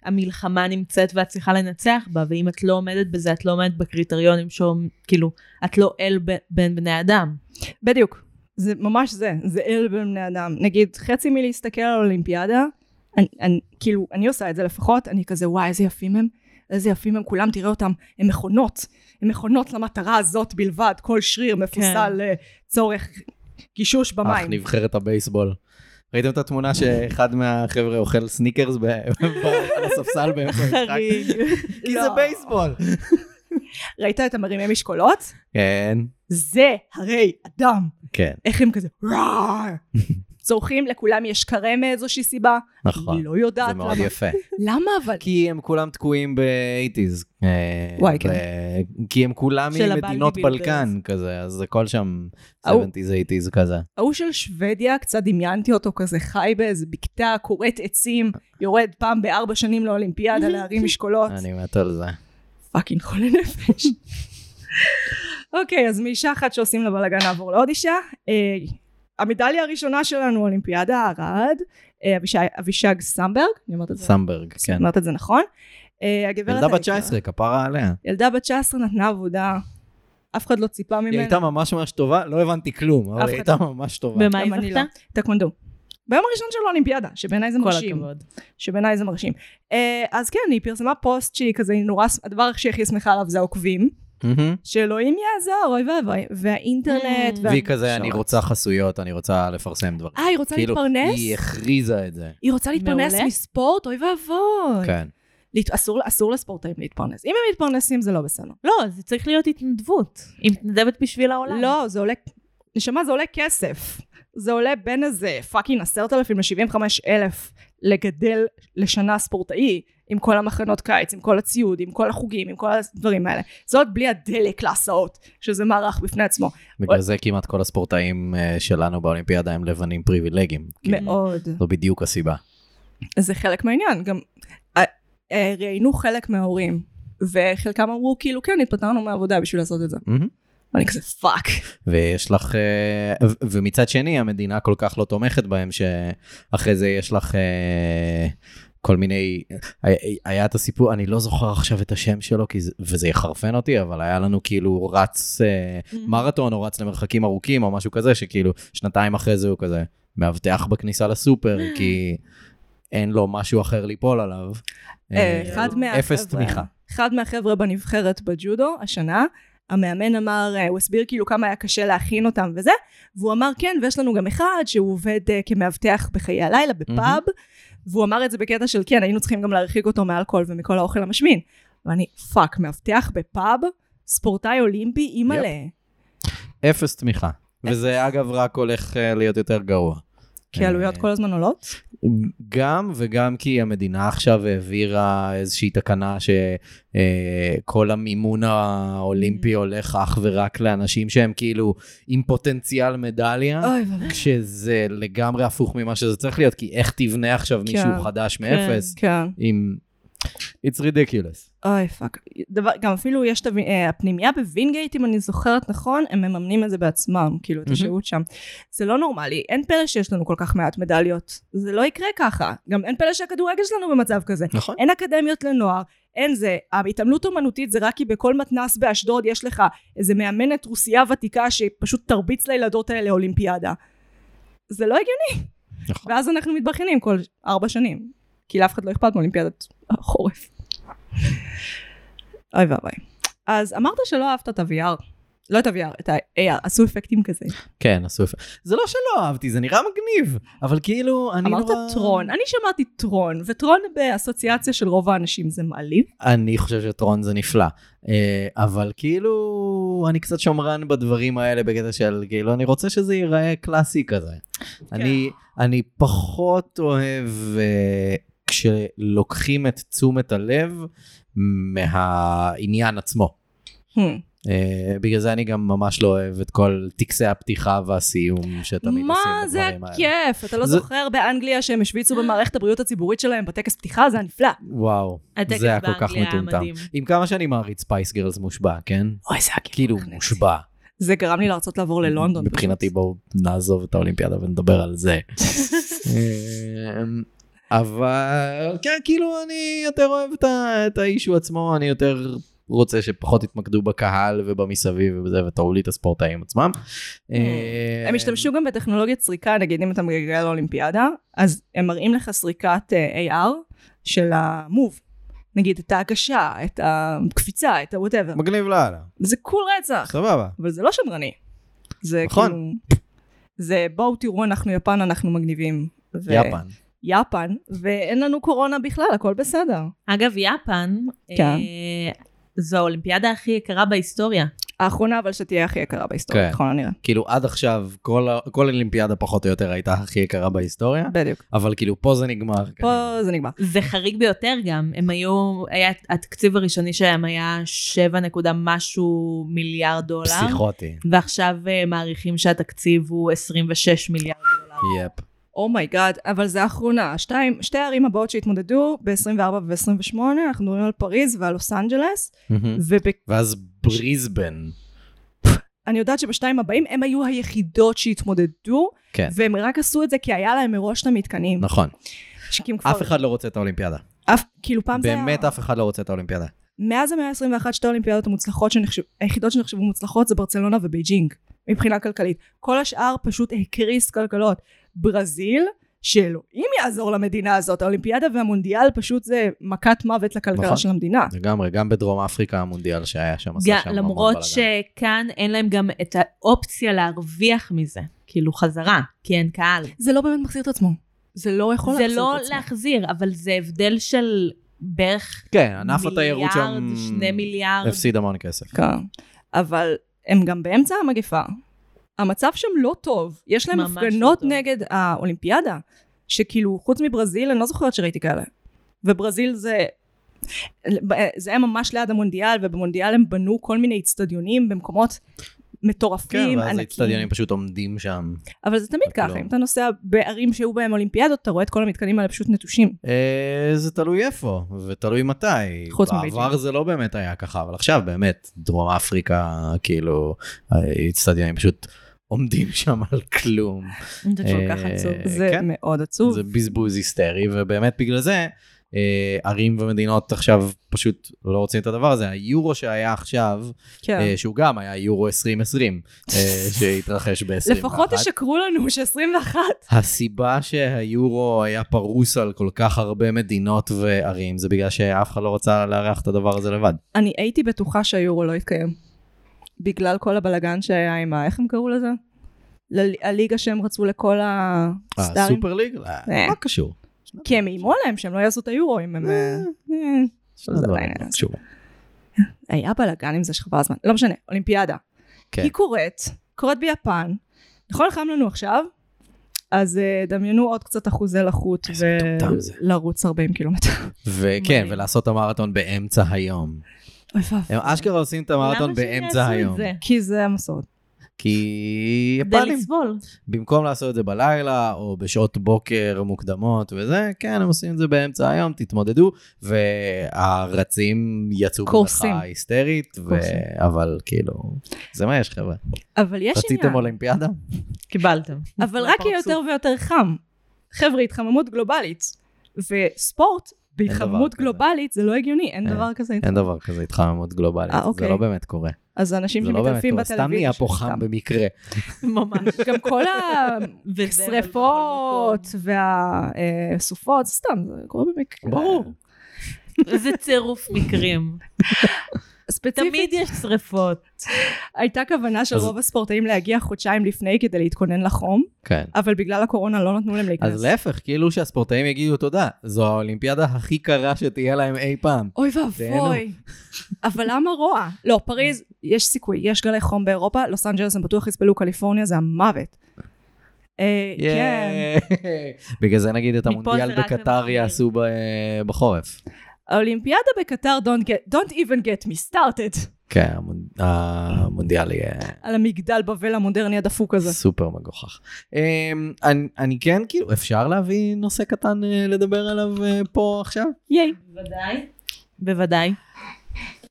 המלחמה נמצאת ואת צריכה לנצח בה, ואם את לא עומדת בזה, את לא עומדת בקריטריונים שאומרים, כאילו, את לא אל ב- בין בני אדם. בדיוק, זה ממש זה, זה אל בין בני אדם. נגיד, חצי מלהסתכל על אולימפיאדה, אני, אני, כאילו, אני עושה את זה לפחות, אני כזה, וואי, איזה יפים הם, איזה יפים הם, כולם, תראה אותם, הם מכונות, הם מכונות למטרה הזאת בלבד, כל שריר מפוסל כן. לצורך גישוש אך במים. נבחרת הבייסבול. ראיתם את התמונה שאחד מהחבר'ה אוכל סניקרס ב- [laughs] ב- על הספסל באמצע המשחק? כי זה לא. בייסבול. ראית את המרימי משקולות? כן. זה הרי אדם. כן, איך הם כזה, [laughs] "רער". צורכים, לכולם יש קרה מאיזושהי סיבה. נכון. אני לא יודעת זה מאוד למה. יפה. למה אבל? כי הם כולם תקועים ב-80's. אה, וואי, כן. ב- כי הם כולם של הבלגי ממדינות בילדרס. בלקן כזה, אז הכל שם ההוא- 70's, 80's כזה. ההוא של שוודיה, קצת דמיינתי אותו כזה חי באיזה בקתה, כורת עצים, יורד פעם בארבע [laughs] שנים לאולימפיאדה להרים משקולות. אני מת על זה. פאקינג חולה [laughs] נפש. אוקיי, אז מאישה אחת שעושים לה בלאגן נעבור לעוד אישה. אה, המדליה הראשונה שלנו, אולימפיאדה, ערד, אה, אבישי- אבישג סמברג, אני אומרת את זה סמברג, כן. אמרת את זה נכון. אה, הגברת... ילדה בת היקרה. 19, כפרה עליה. ילדה בת 19 נתנה עבודה, אף אחד לא ציפה ממנה. היא הייתה ממש ממש טובה, לא הבנתי כלום, אף אבל היא אחד לא- הייתה ממש טובה. במה היא גם אני לא. זכתה? טקוונדו. ביום הראשון של האולימפיאדה, שבעיניי זה כל מרשים. הכבוד. שבעיניי זה מרשים. אה, אז כן, היא פרסמה פוסט שהיא כזה, היא נורא, הדבר שהכי שמחה עליו זה העוקבים, מהמם. שאלוהים יעזור, אוי ואבוי, והאינטרנט, Mm. וה... והיא כזה, אני שעות. רוצה חסויות, אני רוצה לפרסם דברים. אה, היא רוצה כאילו, להתפרנס? היא הכריזה את זה. היא רוצה להתפרנס מעולה. מספורט? אוי ואבוי. כן. להת- אסור- אסור לספורטאים להתפרנס. אם הם מתפרנסים זה לא בסדר. לא, זה צריך להיות התנדבות. היא מתנדבת בשביל העולם. לא, זה עולה, נשמה, זה עולה כסף. זה עולה בין איזה פאקינג עשרת אלפים ל-75 אלף לגדל לשנה ספורטאי, עם כל המחנות קיץ, עם כל הציוד, עם כל החוגים, עם כל הדברים האלה. זה עוד בלי הדלק להסעות, שזה מערך בפני עצמו. בגלל זה כמעט כל הספורטאים אה, שלנו באולימפיאדה הם לבנים פריבילגיים. כאילו, מאוד. זו בדיוק הסיבה. זה חלק מהעניין, גם אה, אה, ראיינו חלק מההורים, וחלקם אמרו כאילו כן, התפטרנו מהעבודה בשביל לעשות את זה. מהמם. ואני כזה פאק. ויש לך, אה, ו- ומצד שני המדינה כל כך לא תומכת בהם, שאחרי זה יש לך אה, כל מיני, היה- היה את הסיפור, אני לא זוכר עכשיו את השם שלו, כי זה- וזה יחרפן אותי, אבל היה לנו כאילו רץ אה, מרתון או רץ למרחקים ארוכים או משהו כזה, שכאילו שנתיים אחרי זה הוא כזה מאבטח בכניסה לסופר, כי אין לו משהו אחר ליפול עליו. אה, אה, אחד מהחבר'ה, אפס תמיכה. אחד מהחבר'ה בנבחרת בג'ודו השנה, המאמן אמר, אה, הוא הסביר כאילו כמה היה קשה להכין אותם וזה, והוא אמר כן, ויש לנו גם אחד שהוא עובד אה, כמאבטח בחיי הלילה בפאב, והוא אמר את זה בקטע של כן, היינו צריכים גם להרחיק אותו מאלכוהול ומכל האוכל המשמין. ואני, פאק, מאבטח בפאב, ספורטאי אולימפי, אימא'לה. אפס תמיכה. וזה אגב רק הולך אה, להיות יותר גרוע. כי העלויות אה, כל הזמן עולות. גם וגם כי המדינה עכשיו העבירה איזושהי תקנה שכל המימון האולימפי Mm. הולך אך ורק לאנשים שהם כאילו עם פוטנציאל מדליה, אוי ואבוי. כשזה לגמרי הפוך ממה שזה צריך להיות, כי איך תבנה עכשיו מישהו כן, חדש מאפס כן. עם... It's ridiculous. אוי פאק. דבר, גם אפילו יש את הוו- אה, הפנימייה בווינגייט, אם אני זוכרת נכון, הם מממנים את זה בעצמם, כאילו, את מהמם. השהות שם. זה לא נורמלי, אין פלא שיש לנו כל כך מעט מדליות. זה לא יקרה ככה. גם אין פלא שהכדורגל שלנו במצב כזה. נכון. אין אקדמיות לנוער, אין זה. ההתעמלות אומנותית זה רק כי בכל מתנ"ס באשדוד יש לך איזה מאמנת רוסייה ותיקה שפשוט תרביץ לילדות האלה אולימפיאדה. זה לא הגיוני. נכון. ואז אנחנו מתבכיינים כל ארבע שנים. כי לאף אחד לא אכפת מאולימפיאדת החורף. אוי ואבוי. אז אמרת שלא אהבת את ה-VR. לא את ה-VR, את ה-AR, עשו אפקטים כזה. כן, עשו יפה. זה לא שלא אהבתי, זה נראה מגניב, אבל כאילו, אני אמרת טרון, אני שמעתי טרון, וטרון באסוציאציה של רוב האנשים זה מעליב. אני חושב שטרון זה נפלא, אה, אבל כאילו אני קצת שמרן בדברים האלה בקטע של כאילו אני רוצה שזה ייראה קלאסי כזה. אני, כן. אני פחות אוהב אה, כשלוקחים את תשומת הלב מהעניין עצמו. Hmm. אה, בגלל זה אני גם ממש לא אוהב את כל טקסי הפתיחה והסיום שתמיד מה עושים זה בדברים האלה. הכיף? אתה לא זה- זוכר באנגליה שהם השוויצו במערכת הבריאות הציבורית שלהם בטקס פתיחה? זה היה נפלא. וואו, הטקס זה היה כל כך באנגליה היה מטומטם. מדהים. עם כמה שאני מעריץ ספייס גרלס מושבע, כן? אוי, זה היה כיף. כאילו מכנס. מושבע. זה גרם לי לרצות לעבור ללונדון. מבחינתי פשוט. בואו נעזוב את האולימפיאדה ונדבר על [laughs] זה. אמ, אבל כן, כאילו אני יותר אוהב את ה- את האישו עצמו, אני יותר רוצה שפחות יתמקדו בקהל ובמסביב ובזה, ותראו לי את הספורטאים עצמם. אה, הם השתמשו גם בטכנולוגיית סריקה, נגיד אם אתה מגיע לאולימפיאדה, אז הם מראים לך סריקת אה, AR של המוב. נגיד את ההגשה, את הקפיצה, את ה-whatever. מגניב לאללה, זה קול רצח, סבבה. אבל זה לא שמרני. זה נכון. כאילו... זה בואו תראו, אנחנו יפן, אנחנו מגניבים. ו- יפן. יפן, ואין לנו קורונה בכלל, הכל בסדר. אגב, יפן, כן. אה, זו האולימפיאדה הכי יקרה בהיסטוריה. האחרונה אבל שתהיה הכי יקרה בהיסטוריה, נכון, כן. ככל הנראה. כאילו עד עכשיו כל ה- כל אולימפיאדה פחות או יותר הייתה הכי יקרה בהיסטוריה, בדיוק. אבל כאילו פה זה נגמר. כנראה. פה זה נגמר. זה חריג ביותר גם, הם היו, היה, התקציב הראשוני שלהם היה 7 נקודה משהו מיליארד דולר, פסיכוטי. ועכשיו אה, מעריכים שהתקציב הוא 26 מיליארד דולר. יפ. אומייגאד, Oh אבל זה האחרונה. שתיים, שתי הערים הבאות שהתמודדו, ב-24 וב-28, אנחנו מדברים על פריז ועל לוס אנג'לס, ואני ואז בריזבן. יודעת שבשתיים הבאים הם היו היחידות שהתמודדו, כן. והם רק עשו את זה כי היה להם מראש את המתקנים. נכון. שקים כבר, נכון. אף אחד לא רוצה את האולימפיאדה. אף, כאילו פעם זה היה... באמת אף אחד לא רוצה את האולימפיאדה. מאז המאה ה-21 שתי האולימפיאדות המוצלחות, שנחשב, היחידות שנחשבו מוצלחות זה ברצלונה ובייג'ינג, מבחינה כלכלית. כל השאר פשוט הקריס כלכלות. ברזיל, שאלוהים יעזור למדינה הזאת, האולימפיאדה והמונדיאל פשוט זה מכת מוות לכלכלה נכון. של המדינה. לגמרי, גם בדרום אפריקה המונדיאל שהיה שם עשה גם- שם המון למרות בלאגן. שכאן אין להם גם את האופציה להרוויח מזה, כאילו חזרה, כי אין קהל. זה לא באמת מחזיר את עצמו. זה לא יכול זה להחזיר לא את עצמו. להחזיר, אבל זה הבדל של בערך כן, ענף התיירות שם... מיליארד, שני מיליארד. הפסיד המון כסף. כן. אבל הם גם באמצע המגפה. המצב שם לא טוב. יש להם ממש לא הפגנות טוב. נגד האולימפיאדה, שכאילו, חוץ מברזיל, אני לא זוכרת שראיתי כאלה. וברזיל זה... זה היה ממש ליד המונדיאל, ובמונדיאל הם בנו כל מיני אצטדיונים במקומות מטורפים, כן, ואז האצטדיונים ענקים. פשוט עומדים שם. אבל זה תמיד לא. ככה, אם אתה נוסע בערים שהיו בהם אולימפיאדות, אתה רואה את כל המתקנים האלה פשוט נטושים. אה, זה תלוי איפה, ותלוי מתי. חוץ בעבר מבייג'ינג. זה לא באמת היה ככה, אבל עכשיו באמת, דרום אפריקה, כאילו, האצטדיונים פשוט עומדים שם על כלום. זה כל כך אה, עצוב. זה כן. מאוד עצוב. זה בזבוז היסטרי, ובאמת בגלל זה, אה, ערים ומדינות עכשיו פשוט לא רוצים את הדבר הזה. היורו שהיה עכשיו, כן. אה, שהוא גם היה יורו 2020, [laughs] אה, שהתרחש ב-21. לפחות תשקרו לנו ש-21. הסיבה שהיורו היה פרוס על כל כך הרבה מדינות וערים זה בגלל שאף אחד לא רצה לארח את הדבר הזה לבד. אני הייתי בטוחה שהיורו לא יתקיים. בגלל כל הבלגן שהיה עם ה... איך הם קראו לזה? ל- הליגה שהם רצו לכל אה, הסטארים. הסופר ליג? לא, אה. מה קשור? כי הם איימו עליהם שהם לא יעשו את היורו אם הם... אה, אה, שני דברים, בעניין לא הזה. קשור. היה בלאגן עם זה שחבל הזמן, לא משנה, אולימפיאדה. כן. היא קורית, קורית ביפן, נכון חם לנו עכשיו? אז אה, דמיינו עוד קצת אחוזי לחות איזה מטומטם זה. ולרוץ 40 קילומטר. וכן, מדהים. ולעשות את המרתון באמצע היום. אה, אוי ואבוי. הם אשכרה עושים את המרתון למה שהם באמצע יעשו את היום. זה? כי זה המסורת. כי כדי יפנים, לסבול. במקום לעשות את זה בלילה או בשעות בוקר מוקדמות וזה, כן, הם עושים את זה באמצע היום, תתמודדו, והרצים יצאו קורסים. במלאכה היסטרית, ו- קורסים. אבל כאילו, זה מה יש חבר'ה. אבל יש רציתם עניין. אולימפיאדה? קיבלתם. אבל רק יהיה לפרצוף. יותר ויותר חם. חבר'ה, התחממות גלובלית. וספורט בהתחממות כזה. אה. גלובלית זה לא הגיוני, אין אין. דבר כזה. אין דבר כזה התחממות גלובלית, אה, זה אוקיי. לא באמת קורה. אז אנשים זה לא באמת שמתעלפים קורה, בטלוויזיה. סתם נהיה פה סתם. חם במקרה. [laughs] ממש. גם כל וזה, אבל השרפות לא בכל והסופות, אה, זה סתם, זה קורה במקרה. ברור. זה צירוף מקרים. תמיד ספציפית, יש שריפות. הייתה כוונה של אז- רוב הספורטאים להגיע חודשיים לפני כדי להתכונן לחום, כן. אבל בגלל הקורונה לא נתנו להם אז להיכנס. להפך, כאילו שהספורטאים יגידו תודה, זו האולימפיאדה הכי קרה שתהיה להם אי פעם. אוי תהנו. [laughs] ואבוי. אבל למה רוע? לא, פריז, יש סיכוי, יש גלי חום באירופה, לוס אנג'לס הם בטוח יסבלו, קליפורניה זה המוות. אה, כן, ייי. [laughs] בגלל זה נגיד את מפה זה המונדיאל רק בקטר ומחמיר. יעשו ב- בחורף. האולימפיאדה בקטר, don't get- don't even get me started, כן, המונ- המונדיאל יהיה על המגדל בבל המודרני הדפוק הזה. סופר מגוחך. אמ, אני- אני כן, כאילו, אפשר להביא נושא קטן אה, לדבר עליו אה, פה עכשיו? ייי. בוודאי. בוודאי.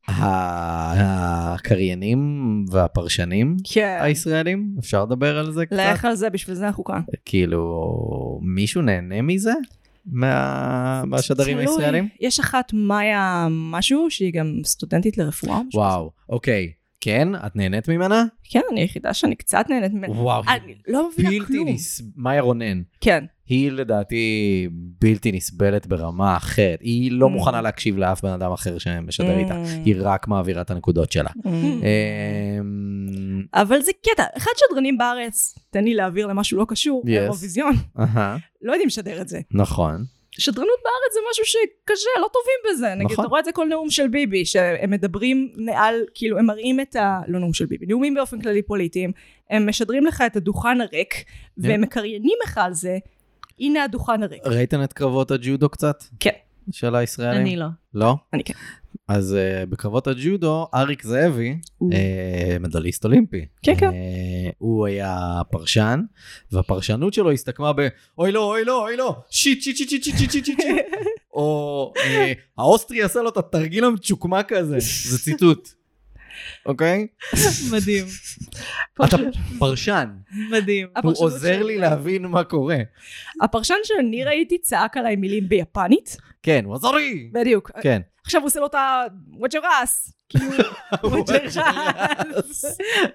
ה- הקריינים והפרשנים כן. הישראלים, אפשר לדבר על זה קצת? לך על זה, בשביל זה אנחנו כאן. כאילו, מישהו נהנה מזה? מה- מהשדרים תלוי. הישראלים? יש אחת מאיה משהו, שהיא גם סטודנטית לרפואה. או משהו וואו, אוקיי. כן? את נהנית ממנה? כזה. כן, אני היחידה שאני קצת נהנית ממנה. וואו, אני כן. [laughs] לא מבינה בלתי כלום. נס... מאיה רונן. כן. היא לדעתי בלתי נסבלת ברמה אחרת. היא לא Mm. מוכנה להקשיב לאף בן אדם אחר שמשדר איתה. Mm. היא רק מעבירה את הנקודות שלה. Mm. אמ, אבל זה קטע, אחד שדרנים בארץ, תן לי להעביר למשהו לא קשור, Yes. אירוויזיון, אהה, לא יודעים לשדר את זה. נכון. שדרנות בארץ זה משהו שקשה, לא טובים בזה. נגיד, נכון. אתה רואה את זה כל נאום של ביבי, שהם מדברים מעל, כאילו, הם מראים את ה... לא נאום של ביבי, נאומים באופן כללי פוליטיים, הם משדרים לך את הדוכן הריק, והם מקריינים לך על זה, הנה הדוכן הריק. ראיתן את קרבות הג'ודו קצת? כן. של הישראלים? אני לא. לא? אני כן. אז אה, בקרבות הג'ודו, אריק זאבי, הוא- אה, מדליסט אולימפי. כן, כן. אה, הוא היה פרשן, והפרשנות שלו הסתכמה ב אוי לא, אוי לא, אוי לא, שיט, שיט, שיט, שיט, שיט, שיט, שיט, [laughs] שיט, שיט. או אה, האוסטרי עשה לו את התרגיל המצ'וקמק הזה, זה ציטוט. אוקיי? מדהים. אתה פרשן, מדהים. הוא הפרשנות עוזר של- לי להבין מה קורה. הפרשן שאני ראיתי צעק עליי מילים ביפנית, כן, הוא עזר לי! בדיוק. כן. עכשיו הוא עושה לו את ה... וואג'רס. [laughs] וואג'רס.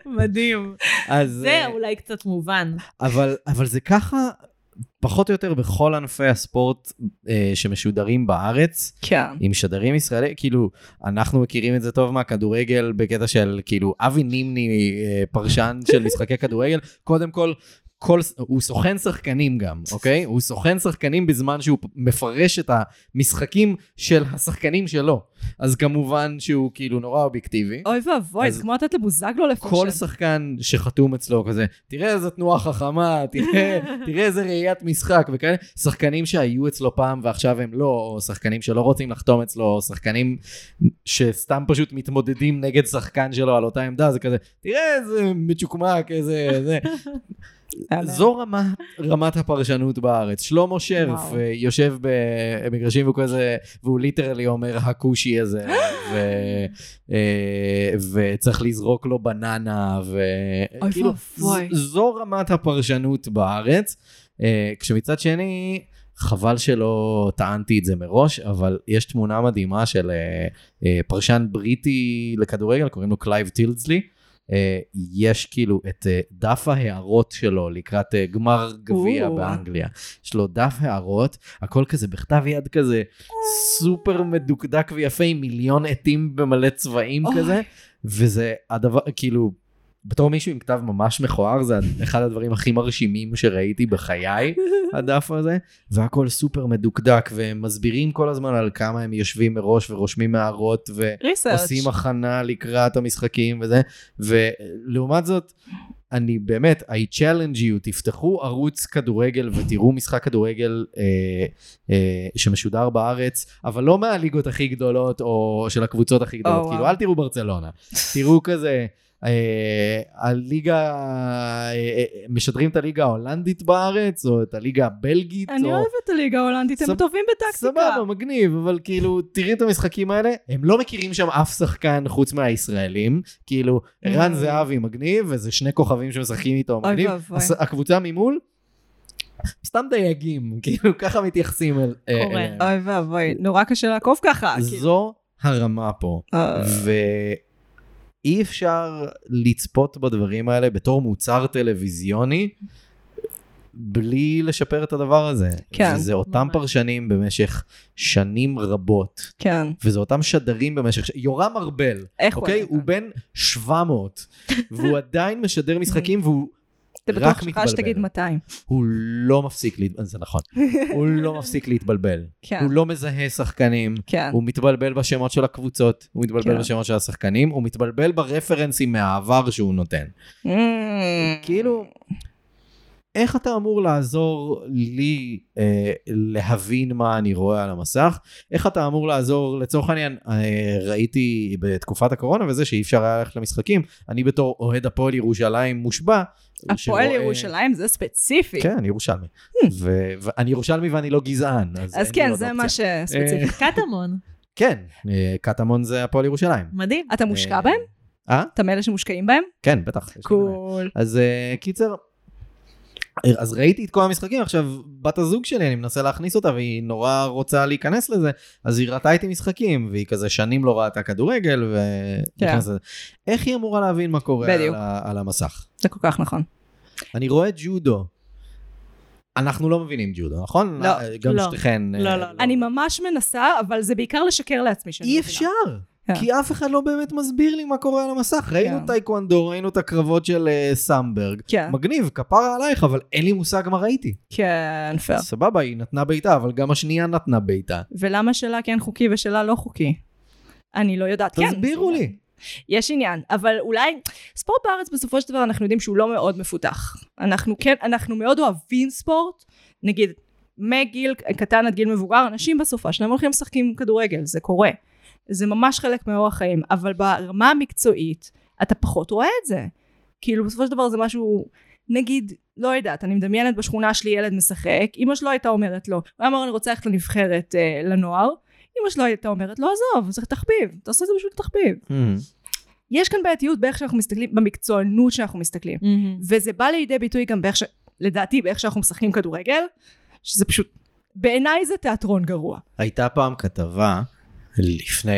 מדהים. אז... זה אה, אולי קצת [laughs] מובן. אבל, אבל זה ככה, פחות או יותר בכל ענפי הספורט אה, שמשודרים בארץ, כן. עם שדרים ישראלי, כאילו, אנחנו מכירים את זה טוב מהכדורגל בקטע של, כאילו, אבי נימני, אה, פרשן של משחקי כדורגל, קודם כל... כל, הוא סוכן שחקנים גם, אוקיי? הוא סוכן שחקנים בזמן שהוא מפרש את המשחקים של השחקנים שלו. אז כמובן שהוא כאילו נורא אובייקטיבי. אוי ואבוי, אז- זה כמו לתת לבוזגלו כל לפרשן. שחקן שחתום אצלו כזה, תראה איזה תנועה חכמה, תראה, תראה איזה ראיית משחק וכאלה, שחקנים שהיו אצלו פעם ועכשיו הם לא, או שחקנים שלא רוצים לחתום אצלו, או שחקנים שסתם פשוט מתמודדים נגד שחקן שלו על אותה עמדה, זה כזה, תראה איזה מצ'וקמק, איזה... זה. זו רמה, רמת הפרשנות בארץ. שלמה שרף וואו. אה, יושב במגרשים והוא כזה, והוא ליטרלי אומר הכושי הזה, ו, אה, וצריך לזרוק לו בננה, כאילו, אוי וכאילו, ואבוי. זו רמת הפרשנות בארץ. אה, כשמצד שני, חבל שלא טענתי את זה מראש, אבל יש תמונה מדהימה של אה, אה, פרשן בריטי לכדורגל, קוראים לו קלייב טילדסלי. אה, יש כאילו את אה, דף ההערות שלו לקראת אה, גמר גביע או. באנגליה. יש לו דף הערות, הכל כזה בכתב יד כזה, סופר מדוקדק ויפה עם מיליון עטים במלא צבעים אוי. כזה, וזה הדבר, כאילו, בתור מישהו עם כתב ממש מכוער, זה אחד הדברים הכי מרשימים שראיתי בחיי, הדף הזה, והכל סופר מדוקדק, והם מסבירים כל הזמן על כמה הם יושבים מראש ורושמים הערות, ו... עושים ריסרצ'. הכנה לקראת המשחקים וזה, ולעומת זאת, אני באמת, I challenge you, תפתחו ערוץ כדורגל ותראו משחק כדורגל אה, אה, שמשודר בארץ, אבל לא מהליגות הכי גדולות או של הקבוצות הכי גדולות, oh, וואו. כאילו אל תראו ברצלונה, תראו כזה, אה, הליגה, אה, אה, משדרים את הליגה ההולנדית בארץ, או את הליגה הבלגית, אני או... אוהבת את הליגה ההולנדית, הם סבבה. טובים בטקטיקה. סבבה, מגניב, אבל כאילו, תראי את המשחקים האלה, הם לא מכירים שם אף שחקן חוץ מהישראלים. כאילו, ערן Mm. זהבי מגניב, וזה שני כוכבים שמשחקים איתו אוי מגניב. ואבוי. הס- הקבוצה ממול, סתם דייגים, [laughs] כאילו, ככה מתייחסים אל... אה, קורה. אליהם. אוי ואבוי, נורא קשה לעקוב ככה. כאילו. זו הרמה פה. אה, ואי אפשר לצפות בדברים האלה בתור מוצר טלוויזיוני בלי לשפר את הדבר הזה. כן. וזה אותם ממש. פרשנים במשך שנים רבות, כן, וזה אותם שדרים במשך... ש- יורם ארבל, איך הוא... אוקיי? היה? הוא בן 700, והוא עדיין משדר משחקים והוא אתה רק בטוח שלך מתבלבל. שתגיד 200. הוא לא מפסיק להתבלבל, זה [laughs] נכון, הוא לא מפסיק להתבלבל. כן, הוא לא מזהה שחקנים, כן. הוא מתבלבל בשמות של הקבוצות, הוא מתבלבל כן. בשמות של השחקנים, הוא מתבלבל ברפרנסים מהעבר שהוא נותן. Mm. כאילו, איך אתה אמור לעזור לי אה, להבין מה אני רואה על המסך? איך אתה אמור לעזור, לצורך העניין, אה, ראיתי בתקופת הקורונה וזה שאי אפשר היה ללכת למשחקים, אני בתור אוהד הפועל ירושלים מושבע. הפועל שרואה- ירושלים זה ספציפי. כן, אני ירושלמי. ו- ואני ירושלמי ואני לא גזען. אז Hmm. אין אז לי כן, עוד זה אופציה. אה, מה שספציפי. קטמון, כן, אה, קטמון זה הפועל ירושלים. מדהים. אתה מושקע אה, בהם? אה? אתה מאלה שמושקעים בהם? כן, בטח. יש לי מנהל. קול. אז אה, קיצר, אה, אז ראיתי את כל המשחקים, עכשיו בת הזוג שלי, אני מנסה להכניס אותה והיא נורא רוצה להיכנס לזה, אז היא ראתה איתי משחקים, והיא כזה שנים לא ראתה כדורגל, ו... כן. נכנסת לזה. איך היא אמורה להבין מה קורה על, בדיוק. ה... על המסך? זה כל כך נכון. אני רואה ג'ודו. אנחנו לא מבינים ג'ודו, נכון? לא, גם לא. שתיכן. אה, לא, לא, לא. אני ממש מנסה, אבל זה בעיקר לשקר לעצמי שאני אי מבינה. אפשר, כן. כי אף אחד לא באמת מסביר לי מה קורה על המסך. ראינו כן. טייקוונדו, ראינו את הקרבות של אה, סמברג. כן, מגניב, כפרה עלייך, אבל אין לי מושג מה ראיתי. כן, פייר. סבבה, היא נתנה בעיטה, אבל גם השנייה נתנה בעיטה. ולמה שלה כן חוקי ושלה לא חוקי? אני לא יודעת. כן, תסבירו זה לי. יש עניין, אבל אולי, ספורט בארץ בסופו של דבר אנחנו יודעים שהוא לא מאוד מפותח. אנחנו כן, אנחנו מאוד אוהבים ספורט, נגיד מגיל קטן עד גיל מבוגר, אנשים בסופה שלהם הולכים לשחקים כדורגל, זה קורה. זה ממש חלק מאורח חיים, אבל ברמה המקצועית אתה פחות רואה את זה. כאילו בסופו של דבר זה משהו, נגיד, לא יודעת, אני מדמיינת בשכונה שלי ילד משחק, אמא שלו הייתה אומרת לו, הוא היה אומר אני רוצה ללכת לנבחרת אה, לנוער, אמא שלו הייתה אומרת לא עזוב, צריך תחביב, תעשה את זה בשביל תחביב. יש כאן בעייתיות באיך שאנחנו מסתכלים, במקצוענות שאנחנו מסתכלים. מהמם. [laughs] וזה בא לידי ביטוי גם באיך ש... לדעתי, באיך שאנחנו משחקים כדורגל, שזה פשוט... בעיניי זה תיאטרון גרוע. הייתה פעם כתבה, לפני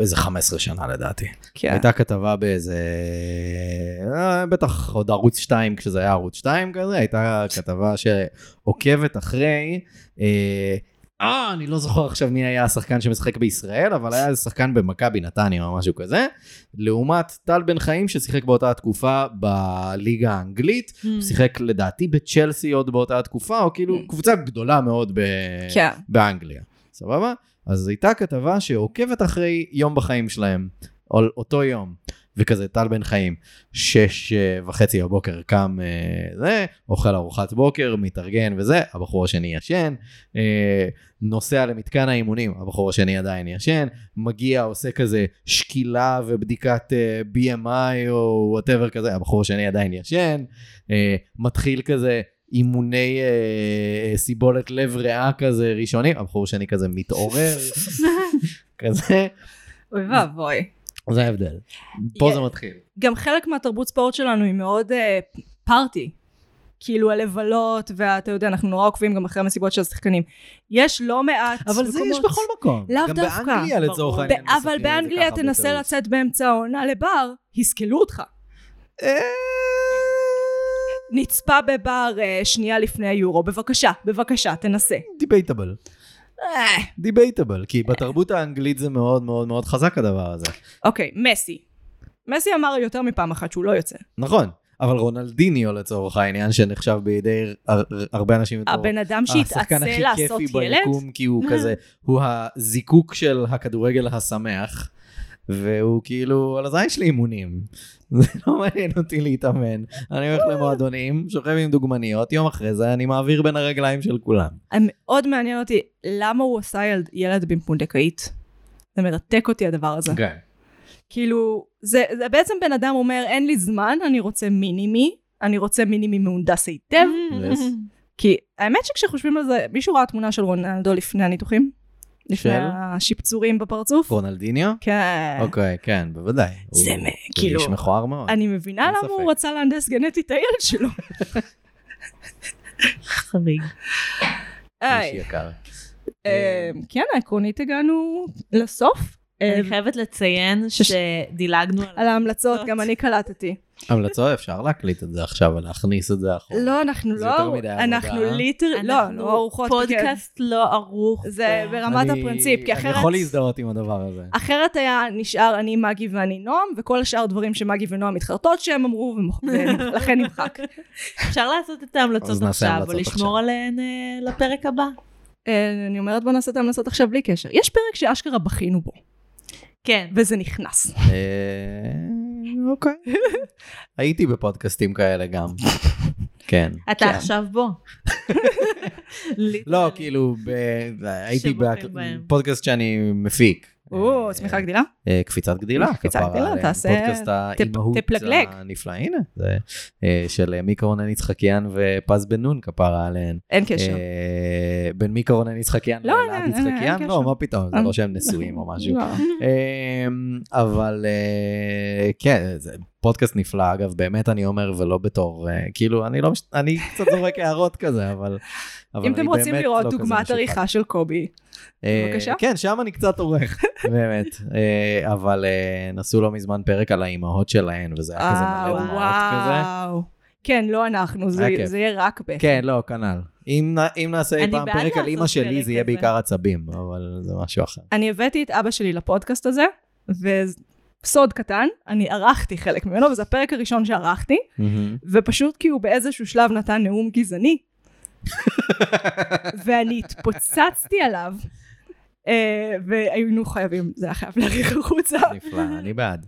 איזה 15 שנה לדעתי. כן. הייתה כתבה באיזה... אה, בטח עוד ערוץ 2, כשזה היה ערוץ 2 כזה, הייתה כתבה שעוקבת אחרי אה, אה, אני לא זוכר עכשיו מי היה השחקן שמשחק בישראל, אבל היה איזה שחקן במכבי נתניה או משהו כזה. לעומת טל בן חיים ששיחק באותה התקופה בליגה האנגלית, Hmm. הוא שיחק לדעתי בצ'לסי עוד באותה התקופה, או כאילו Mm. קבוצה גדולה מאוד ב... כן. באנגליה, סבבה? אז הייתה כתבה שעוקבת אחרי יום בחיים שלהם, או אותו יום, וכזה טל בן חיים, שש אה, וחצי בבוקר קם אה, זה, אוכל ארוחת בוקר, מתארגן וזה, הבחור השני ישן, אה, נוסע למתקן האימונים, הבחור השני עדיין ישן, מגיע, עושה כזה שקילה ובדיקת אה, BMI או וואטאבר כזה, הבחור השני עדיין ישן, אה, מתחיל כזה אימוני אה, אה, סיבולת לב ריאה כזה ראשונים, הבחור השני כזה [laughs] מתעורר, כזה, אוי ואבוי. זה ההבדל. פה יה- זה מתחיל. גם חלק מהתרבות ספורט שלנו היא מאוד אה, פארטי. כאילו הלבלות, ואתה יודע, אנחנו נורא עוקבים גם אחרי המסיבות של השחקנים. יש לא מעט אבל זה יש בכל מקום. לאו גם דווקא. באנגליה לצורך ברור. העניין. ב- אבל מספרים את זה באנגליה ככה תנסה בטירוף. לצאת באמצע העונה לבר, יסקלו אותך. אה. נצפה בבר אה, שנייה לפני היורו, בבקשה, בבקשה, תנסה. דיבייטבל. אה, דיבייטבל, כי בתרבות האנגלית זה מאוד מאוד מאוד חזק הדבר הזה. אוקיי, מסי. מסי אמר יותר מפעם אחת שהוא לא יוצא. נכון, אבל רונלדיניו לצורך העניין, שנחשב בידי הר- הרבה אנשים בתור הבן אדם אה, השחקן שהתעצל הכי לעשות כיפי ילד, אה. ביקום, כי הוא כזה, הוא הזיקוק של הכדורגל השמח. והוא כאילו על הזין שלי אימונים, [laughs] זה לא מעניין אותי להתאמן, אני אה. הולך למועדונים, שוכב עם דוגמניות, יום אחרי זה אני מעביר בין הרגליים של כולם. מאוד מעניין אותי למה הוא עשה ילד, ילד בפונדקאית. זה מרתק אותי הדבר הזה. כן. כאילו, זה, זה בעצם בן אדם אומר, אין לי זמן, אני רוצה מינימי, אני רוצה מינימי מהונדס היטב. כי האמת שכשחושבים על זה, מישהו ראה תמונה של רונלדו לפני הניתוחים? לפני של? השפצורים בפרצוף? רונלדיניו? כן. אוקיי, כן, בוודאי. זה הוא- מ- הוא כאילו- איש מכוער מאוד. אני מבינה אין למה ספק. הוא רצה להנדס גנטית את הילד [laughs] שלו. חריג. היי, איש יקר. אה, כן, עקרונית הגענו לסוף. אה, אני חייבת לציין שדילגנו על על ההמלצות, ההמלצות. גם אני קלטתי. אוקיי. המלצות אפשר להקליט את זה עכשיו ולהכניס את זה אחורה. לא, אנחנו זה לא, יותר מדי עבודה. אנחנו ליטר, לא, לא ארוחות, כן. פודקאסט לא ערוך. זה ברמת אני- לא, הפרינציפ, כי אחרת... אני יכול להזדהות עם הדבר הזה. אחרת היה נשאר אני, מגי ואני נועם, וכל השאר דברים שמגי ונועם מתחרטות שהם אמרו, ולכן נמחק. [laughs] אפשר לעשות את אז ההמלצות נעשה עכשיו, או המלצות עכשיו. לשמור עליהן אה, לפרק הבא. אה, אני אומרת בוא נעשה את ההמלצות עכשיו בלי קשר. יש פרק שאשכרה בכינו בו, כן. וזה נכנס. אה, אוקיי. [laughs] הייתי בפודקאסטים כאלה [laughs] גם. כן. אתה כן. עכשיו בוא. לא, כאילו, ב- הייתי שבוחרים בהם. בפודקאסט שאני מפיק. או, אה, צמיחה גדילה? אה, קפיצת גדילה. קפיצת כפרה גדילה, עליהם. תעשה- פודקאסט האימהות תפלגלג. הנפלא, הנה, זה אה, של מיקה רונן יצחקיאן ופז בן נון כפרה עליהן. אין קשר. אה, בין מיקה רונן יצחקיאן לא, לאלעד אין, אין, אין יצחקיאן? קשר. לא, מה פתאום, זה אה. לא שהם נשואים או [laughs] משהו. לא. אמ, אבל אה, כן, זה פודקאסט נפלא, אגב, באמת אני אומר, ולא בתור, אה, כאילו, אני לא, מש- אני קצת זורק הערות כזה, אבל... אבל אם אני אתם רוצים באמת לראות לא כזה דוגמת משוחד. עריכה של קובי, אה, בבקשה. כן, שם אני קצת עורך, [laughs] באמת. אה, אבל אה, נסעו לא מזמן פרק על האימהות שלהן, וזה היה כזה אה, מלא דוגמאות כזה. וואו. כן, לא אנחנו, זה היה כיף. זה יהיה רק ב... כן, לא, כנ"ל. אם נ- אם נעשה אי אני פעם בעד פרק על לעשות אימא שלי, פרק זה יהיה כזה. בעיקר עצבים, אבל זה משהו אחר. אני הבאתי את אבא שלי לפודקאסט הזה, וסוד קטן, אני ערכתי חלק ממנו, וזה הפרק הראשון שערכתי, ופשוט כי הוא באיזשהו שלב נתן נאום גזעני, ואני התפוצצתי עליו, אה, והיינו חייבים, זה היה חייב להעריך החוצה, נפלא, אני בעד.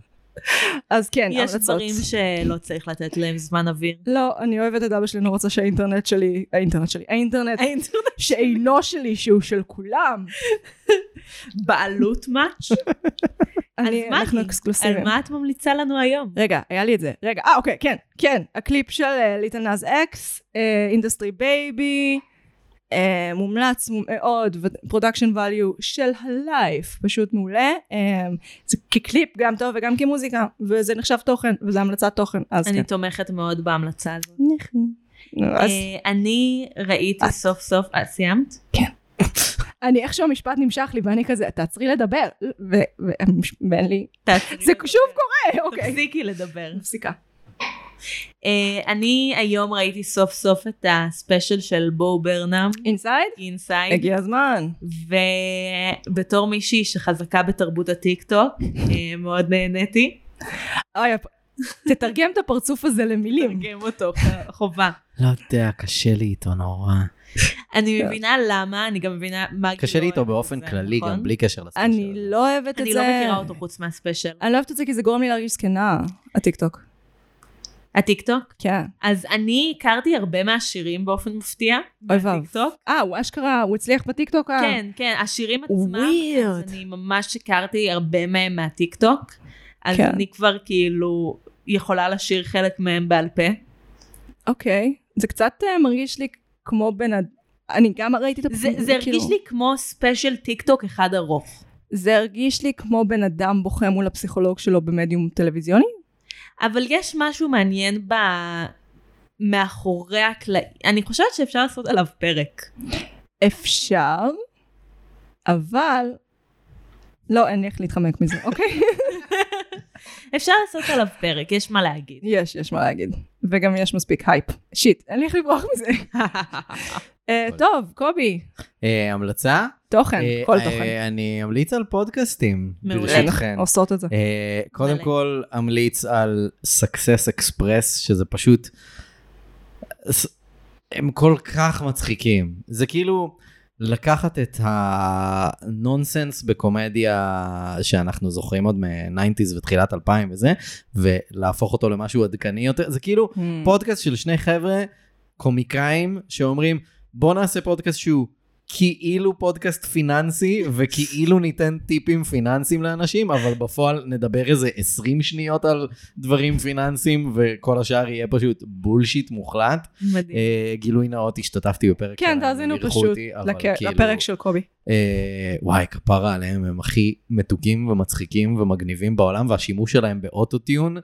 אז כן, יש המלצות. דברים שלא צריך לתת להם זמן [laughs] אוויר. לא, אני אוהבת את אבא שלי, אני רוצה שהאינטרנט שלי, האינטרנט שלי, האינטרנט האינטרנט שאינו שלי, שהוא של כולם. בעלות משהו. [laughs] אני, מה אנחנו היא? אקסקלוסיביים. על מה את ממליצה לנו היום? רגע, היה לי את זה. רגע, אה, אוקיי, כן, כן. הקליפ של ליטל נאז אקס, אה, אינדסטרי בייבי, אה, מומלץ מאוד, פרודקשן value של הלייף, פשוט מעולה. אה, זה כקליפ גם טוב וגם כמוזיקה, וזה נחשב תוכן, וזה המלצת תוכן, אז כן. אני תומכת מאוד בהמלצה הזאת. נו, אז אה, אני ראיתי את. סוף סוף, אה, [laughs] סיימת? אני איכשהו המשפט נמשך לי ואני כזה תעצרי לדבר ו- ו- ואין לי תעצרי זה לדבר. שוב קורה אוקיי תפסיקי לדבר. מפסיקה אה, אני היום ראיתי סוף סוף את הספיישל של בו ברנאם, אינסייד? אינסייד. הגיע הזמן. ובתור מישהי שחזקה בתרבות הטיקטוק, אה, מאוד נהניתי. אוי, הפ- תתרגם את הפרצוף הזה למילים. תרגם אותו, [laughs] חובה. לא יודע, קשה לי איתו נורא. כן. אני מבינה למה, אני גם מבינה מה... קשה לי גילו איתו אוהב את באופן זה, כללי, נכון? גם בלי קשר לספיישל. אני הזה. לא אוהבת את אני זה. לא מכירה אותו חוץ מהספיישל. אני לא אוהבת את זה כי זה גורם לי להרגיש זקנה, הטיקטוק. הטיקטוק? כן. אז אני הכרתי הרבה מהשירים באופן מפתיע. אוי ואב. מהטיקטוק. אה, הוא אשכרה, הוא הצליח בטיקטוק? אה? כן, כן, השירים עצמם. ווירד. אז אני ממש הכרתי הרבה מהם מהטיקטוק. אז כן. אני כבר כאילו יכולה לשיר חלק מהם בעל פה. אוקיי. זה קצת אה, מרגיש לי כמו בן אד... אני גם ראיתי את כאילו, זה זה הרגיש לי כמו ספיישל טיקטוק אחד ארוך. זה הרגיש לי כמו בן אדם בוכה מול הפסיכולוג שלו במדיום טלוויזיוני. אבל יש משהו מעניין ב... מאחורי הקלעים. אני חושבת שאפשר לעשות עליו פרק. אפשר, אבל... לא, אין לי איך [laughs] להתחמק מזה, אוקיי? אפשר לעשות עליו פרק, יש מה להגיד. יש, יש מה להגיד. וגם יש מספיק הייפ. שיט, אין לי איך לברוח מזה. [laughs] אה, טוב, קובי, אה, המלצה? תוכן, אה, כן, כל אה, תוכן. אני אמליץ על פודקאסטים. מעולה. ברשותכן. עושות את זה. אה, קודם מלא. כל אמליץ על סקסס אקספרס שזה פשוט ס- הם כל כך מצחיקים זה כאילו לקחת את הנונסנס בקומדיה שאנחנו זוכרים עוד מ-90's ותחילת 2000 וזה ולהפוך אותו למשהו עדכני יותר זה כאילו Hmm. פודקאסט של שני חבר'ה קומיקאים שאומרים בוא נעשה פודקאסט שהוא כאילו פודקאסט פיננסי וכאילו ניתן טיפים פיננסיים לאנשים אבל בפועל נדבר איזה 20 שניות על דברים פיננסיים וכל השאר יהיה פשוט בולשיט מוחלט. מדהים. אה, גילוי נאות השתתפתי בפרק כן, שלהם, תאזינו הם אירחו פשוט אותי, אבל לק- כאילו- לפרק של קובי. אה, וואי, כפרה עליהם, הם הכי מתוקים ומצחיקים ומגניבים בעולם והשימוש שלהם באוטוטיון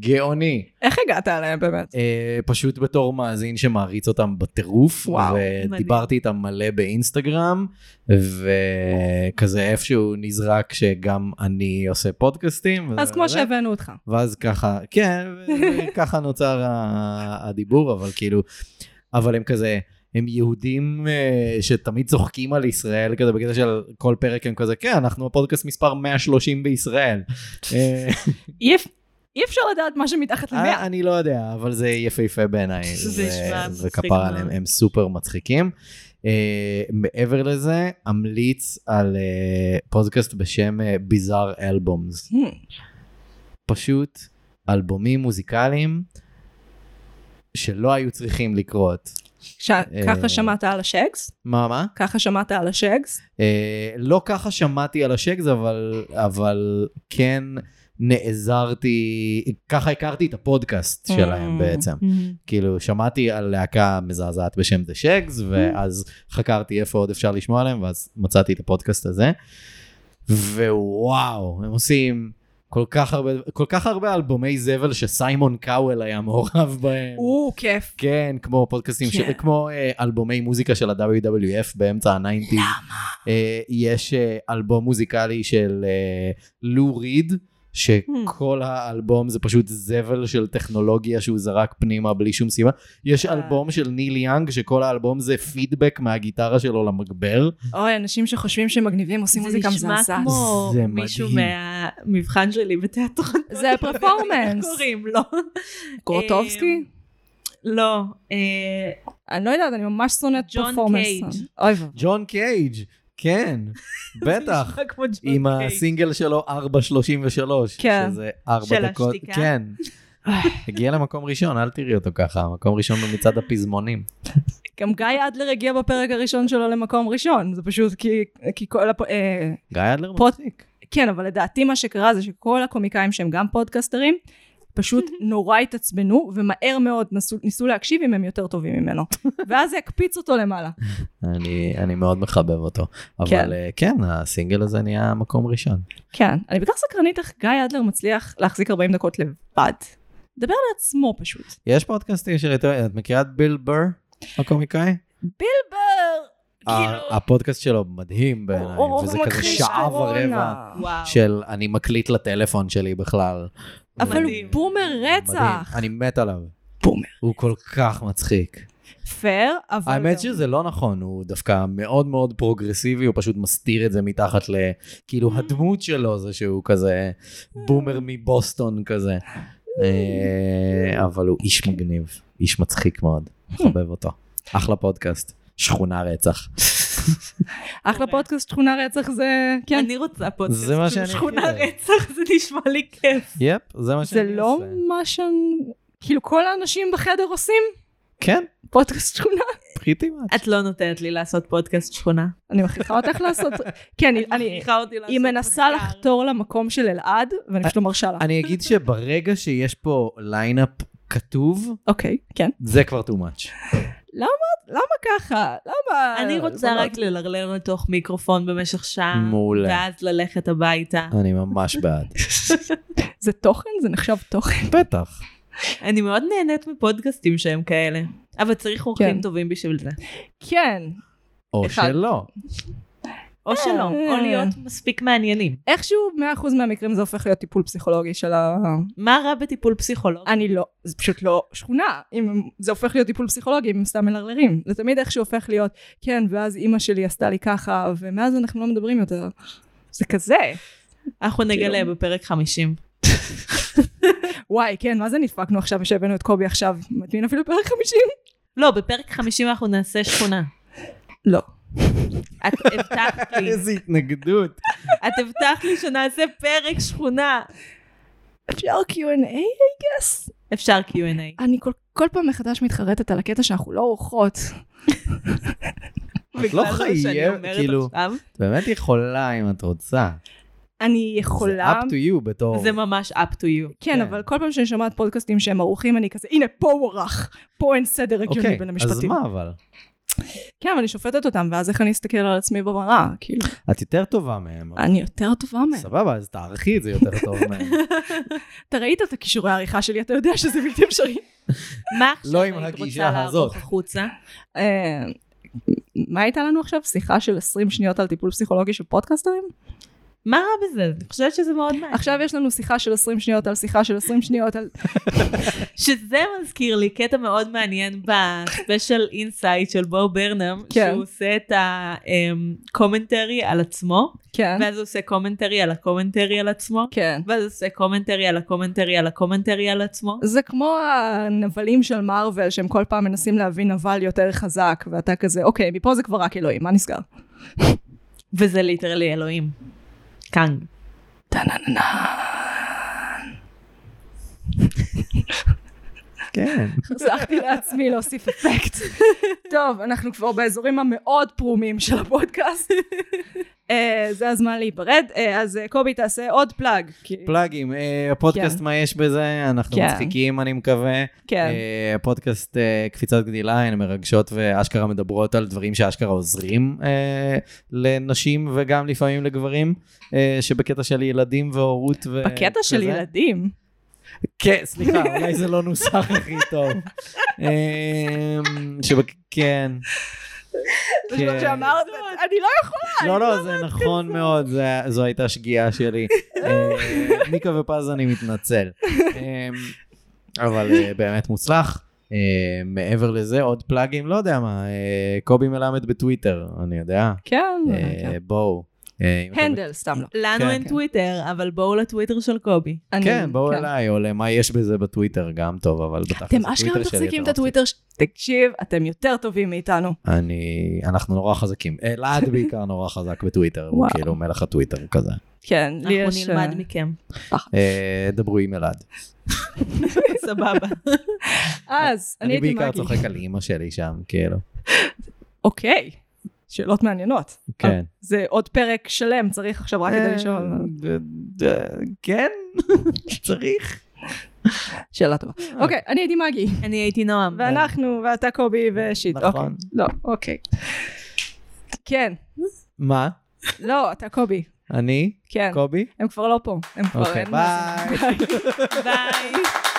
גאוני. איך הגעת אליהם באמת? אה, פשוט בתור מאזין שמעריץ אותם בטירוף, וואו, ודיברתי איתם מלא באינסטגרם, וכזה איפשהו נזרק שגם אני עושה פודקאסטים. וזה אז כמו וזה. שהבאנו אותך. ואז ככה, [laughs] כן, ככה נוצר ה- הדיבור, אבל כאילו, אבל הם כזה, הם יהודים אה, שתמיד צוחקים על ישראל, כזה בקטע של כל פרק הם כזה, כן, אנחנו הפודקאסט מספר 130 [laughs] בישראל. אה, אי אפ- אי אפשר לדעת מה שמתחת למאה. אני לא יודע, אבל זה יפהפה בעיניי. [laughs] זה זה- נשמע זה מצחיק כפר עליהם, מאוד. הם סופר מצחיקים. אה, מעבר לזה, אמליץ על אה, פודקאסט בשם אה, ביזאר אלבומס. Hmm. פשוט אלבומים מוזיקליים שלא היו צריכים לקרות. ש- ככה אה. שמעת על השגס? מה, מה? ככה שמעת על השגס? אה, לא ככה שמעתי על השקס, אבל, אבל כן נעזרתי, ככה הכרתי את הפודקאסט שלהם Mm. בעצם. כאילו שמעתי על להקה מזעזעת בשם The Shags ואז חקרתי איפה עוד אפשר לשמוע עליהם ואז מצאתי את הפודקאסט הזה. ווואו הם עושים כל כך הרבה כל כך הרבה אלבומי זבל שסיימון קאוול היה מעורב בהם. או, כיף. כן, כמו פודקאסטים, כן. של, כמו אה, אלבומי מוזיקה של ה-WWF באמצע ה-90. למה? אה, יש אה, אלבום מוזיקלי של אה, לו ריד, שכל Hmm. האלבום זה פשוט זבל של טכנולוגיה שהוא זרק פנימה בלי שום סיבה. יש אה. אלבום של ניל יאנג, שכל האלבום זה פידבק מהגיטרה שלו למגבר. אוי, אנשים שחושבים שהם מגניבים עושים מוזיקה נשמע מזעזעת. כמו זה מישהו מדהים. מהמבחן שלי בתיאטרון. [laughs] זה [laughs] איך הפרפורמנס. קוראים לו? קורטובסקי? לא. אה, אני לא יודעת, אני ממש שונאת ג'ון פרפורמנס. קייג'. אוי ואבוי. ג'ון קייג', [laughs] כן, בטח. נשמע כמו ג'ון עם קייק. הסינגל שלו 433, אוקיי. כן. שזה 4 של דקות, השתיקה. [laughs] כן. הגיע למקום ראשון, אל תראי אותו ככה, מקום ראשון במצעד הפזמונים. גם גיא אדלר הגיע בפרק הראשון שלו למקום ראשון, זה פשוט כי, כי כל הפ... אה, גיא אדלר פוד- מצחיק. כן, אבל לדעתי מה שקרה זה שכל הקומיקאים שהם גם פודקסטרים, [laughs] פשוט נורא התעצבנו, ומהר מאוד נסו, ניסו להקשיב אם הם יותר טובים [laughs] ממנו. ואז זה הקפיץ אותו למעלה. אני, אני מאוד מחבב אותו. כן. אבל אה, כן, הסינגל הזה נהיה מקום ראשון. כן, אני בטח סקרנית איך גיא אדלר מצליח להחזיק 40 דקות לבד. דבר לעצמו פשוט. יש פודקאסטים של איתו, את מכירה את ביל בר, הקומיקאי? בר! כאילו- ה- הפודקאסט שלו מדהים בעיניי, הוא וזה כזה מכחיש שעה קורונה. ורבע וואו. של אני מקליט לטלפון שלי בכלל, אבל הוא מדהים. בומר רצח. מדהים, אני מת עליו. בומר. הוא כל כך מצחיק. פייר, אבל... האמת גם- שזה לא נכון, הוא דווקא מאוד מאוד פרוגרסיבי, הוא פשוט מסתיר את זה מתחת ל... כאילו Mm. הדמות שלו זה שהוא כזה בומר מבוסטון כזה. אה, אבל הוא איש מגניב, איש מצחיק מאוד, Hmm. מחבב אותו. אחלה פודקאסט, שכונה רצח. אחלה פודקאסט שכונה רצח זה... כן. אני רוצה פודקאסט זה מה של שאני שכונה הכי אוהב. רצח, זה נשמע לי כיף. יפ, זה מה זה שאני לא עושה. מה ש... כאילו כל האנשים בחדר עושים כן, פודקאסט שכונה. פחיתי מה. את לא נותנת לי לעשות פודקאסט שכונה. אני מכריחה אותך לעשות... כן, אני- אני... מכריחה אותי לעשות היא מנסה מחקר. לחתור למקום של אלעד, ואני פשוט לא מרשה לה. אני אגיד שברגע שיש פה ליינאפ כתוב, אוקיי, כן. זה כבר too much. למה לא ככה? למה... לא אני רוצה בנות? רק ללרלר לתוך מיקרופון במשך שעה. מעולה. ואז ללכת הביתה. אני ממש בעד. זה תוכן? זה נחשב תוכן? בטח. אני מאוד נהנית מפודקאסטים שהם כאלה. אבל צריך אורחים כן. טובים בשביל זה. כן. או אחד. שלא. או שלא, או להיות מספיק מעניינים. איכשהו 100% מהמקרים זה הופך להיות טיפול פסיכולוגי של ה... מה רע בטיפול פסיכולוגי? אני לא, זה פשוט לא שכונה, אם הם- זה הופך להיות טיפול פסיכולוגי, אם הם סתם מלרלרים. זה תמיד איכשהו הופך להיות, כן, ואז אימא שלי עשתה לי ככה, ומאז אנחנו לא מדברים יותר. זה כזה. אנחנו נגלה בפרק 50. וואי, כן, מה זה נדפקנו עכשיו ושהבאנו את קובי עכשיו? מתאים אפילו פרק 50? לא, בפרק 50 אנחנו נעשה שכונה. לא. את הבטחת לי, [laughs] [laughs] איזה התנגדות. את הבטחת לי שנעשה פרק שכונה. אפשר Q&A, I guess? אפשר Q&A. אני כל, כל פעם מחדש מתחרטת על הקטע שאנחנו לא אורחות. את לא בגלל זה שאני חייבת, אומרת כאילו, עכשיו, את באמת יכולה אם את רוצה. אני יכולה... זה up to you בתור... זה ממש up to you. כן, כן. אבל כל פעם שאני שומעת פודקאסטים שהם ערוכים, אני כזה, הנה, פה הוא ערך, פה אין סדר הגיוני אוקיי, בין אז המשפטים. מה אבל? כן, אבל אני שופטת אותם, ואז איך אני אסתכל על עצמי במראה? כאילו, את יותר טובה מהם. אבל- אני יותר טובה מהם. סבבה, אז תערכי את זה יותר טוב מהם. [laughs] אתה ראית את הכישורי העריכה שלי, אתה יודע שזה בלתי אפשרי. מה עכשיו לא עם היית הגישה רוצה לערוך הזאת. החוצה? אה, מה הייתה לנו עכשיו? שיחה של 20 שניות על טיפול פסיכולוגי של פודקאסטרים? מה רע בזה? אני חושבת שזה מאוד מעניין. עכשיו יש לנו שיחה של 20 שניות על שיחה של 20 שניות על... שזה מזכיר לי קטע מאוד מעניין בספיישל אינסייט של בו ברנם, כן. שהוא עושה את הקומנטרי על עצמו, כן, ואז הוא עושה קומנטרי על הקומנטרי על עצמו, כן. ואז הוא עושה קומנטרי על הקומנטרי על הקומנטרי על עצמו. זה כמו הנבלים של מארוול, שהם כל פעם מנסים להבין נבל יותר חזק, ואתה כזה, אוקיי, מפה זה כבר רק אלוהים, מה נסגר? וזה ליטרלי אלוהים. קאנג. כן. הצלחתי לעצמי להוסיף אפקט. טוב, אנחנו כבר באזורים המאוד פרומים של הפודקאסט. אה, זה הזמן להיפרד, אה, אז אה, קובי תעשה עוד פלאג. כי- פלאגים, אה, הפודקאסט כן. מה יש בזה, אנחנו כן. מצחיקים אני מקווה. כן. אה, הפודקאסט אה, קפיצת גדילה, הן מרגשות ואשכרה מדברות על דברים שאשכרה עוזרים אה, לנשים וגם לפעמים לגברים, אה, שבקטע של ילדים והורות ו... בקטע של כזה. ילדים. כן, סליחה, אולי זה לא נוסח הכי [laughs] טוב. אמ, שבק... כן. פשוט שאמרת, אני לא יכולה. לא, לא, זה נכון מאוד, זה- זו הייתה שגיאה [laughs] שלי. אה, מיקה ופז, אני מתנצל. אמ, אבל אה, באמת מוצלח. אה, מעבר לזה, עוד פלאגים, לא יודע מה, אה, קובי מלמד בטוויטר, אני יודע. כן. אה, בואו. אה, אם אתם- הנדל, סתם לא. לנו כן, אין כן. טוויטר, אבל בואו לטוויטר של קובי. אני- כן, בואו אליי, או למה יש בזה בטוויטר, גם טוב, אבל בטח. אתם אשכרה לא מחזיקים את הטוויטר, ש- תקשיב, אתם יותר טובים מאיתנו. אני, אנחנו נורא חזקים. אלעד בעיקר נורא חזק בטוויטר, הוא וואו. כאילו מלך הטוויטר כזה. כן, לי אנחנו יש... נלמד אה, מכם. אה, דברו עם אלעד. סבבה. אז, אני אני הייתי בעיקר מגי. צוחק על אימא שלי שם, כאילו. אוקיי, שאלות מעניינות. כן. זה עוד פרק שלם, צריך עכשיו רק כדי לשאול. אה, [laughs] כן? צריך. שאלה טובה. אוקיי, אני הייתי מגי, אני הייתי נועם. ואנחנו, ואתה קובי ושיט. נכון. אוקיי. לא, אוקיי. כן, מה? לא, אתה קובי. אני? כן. קובי? הם כבר לא פה. הם כבר... [laughs] אוקיי, אין מה זה. ביי. ביי.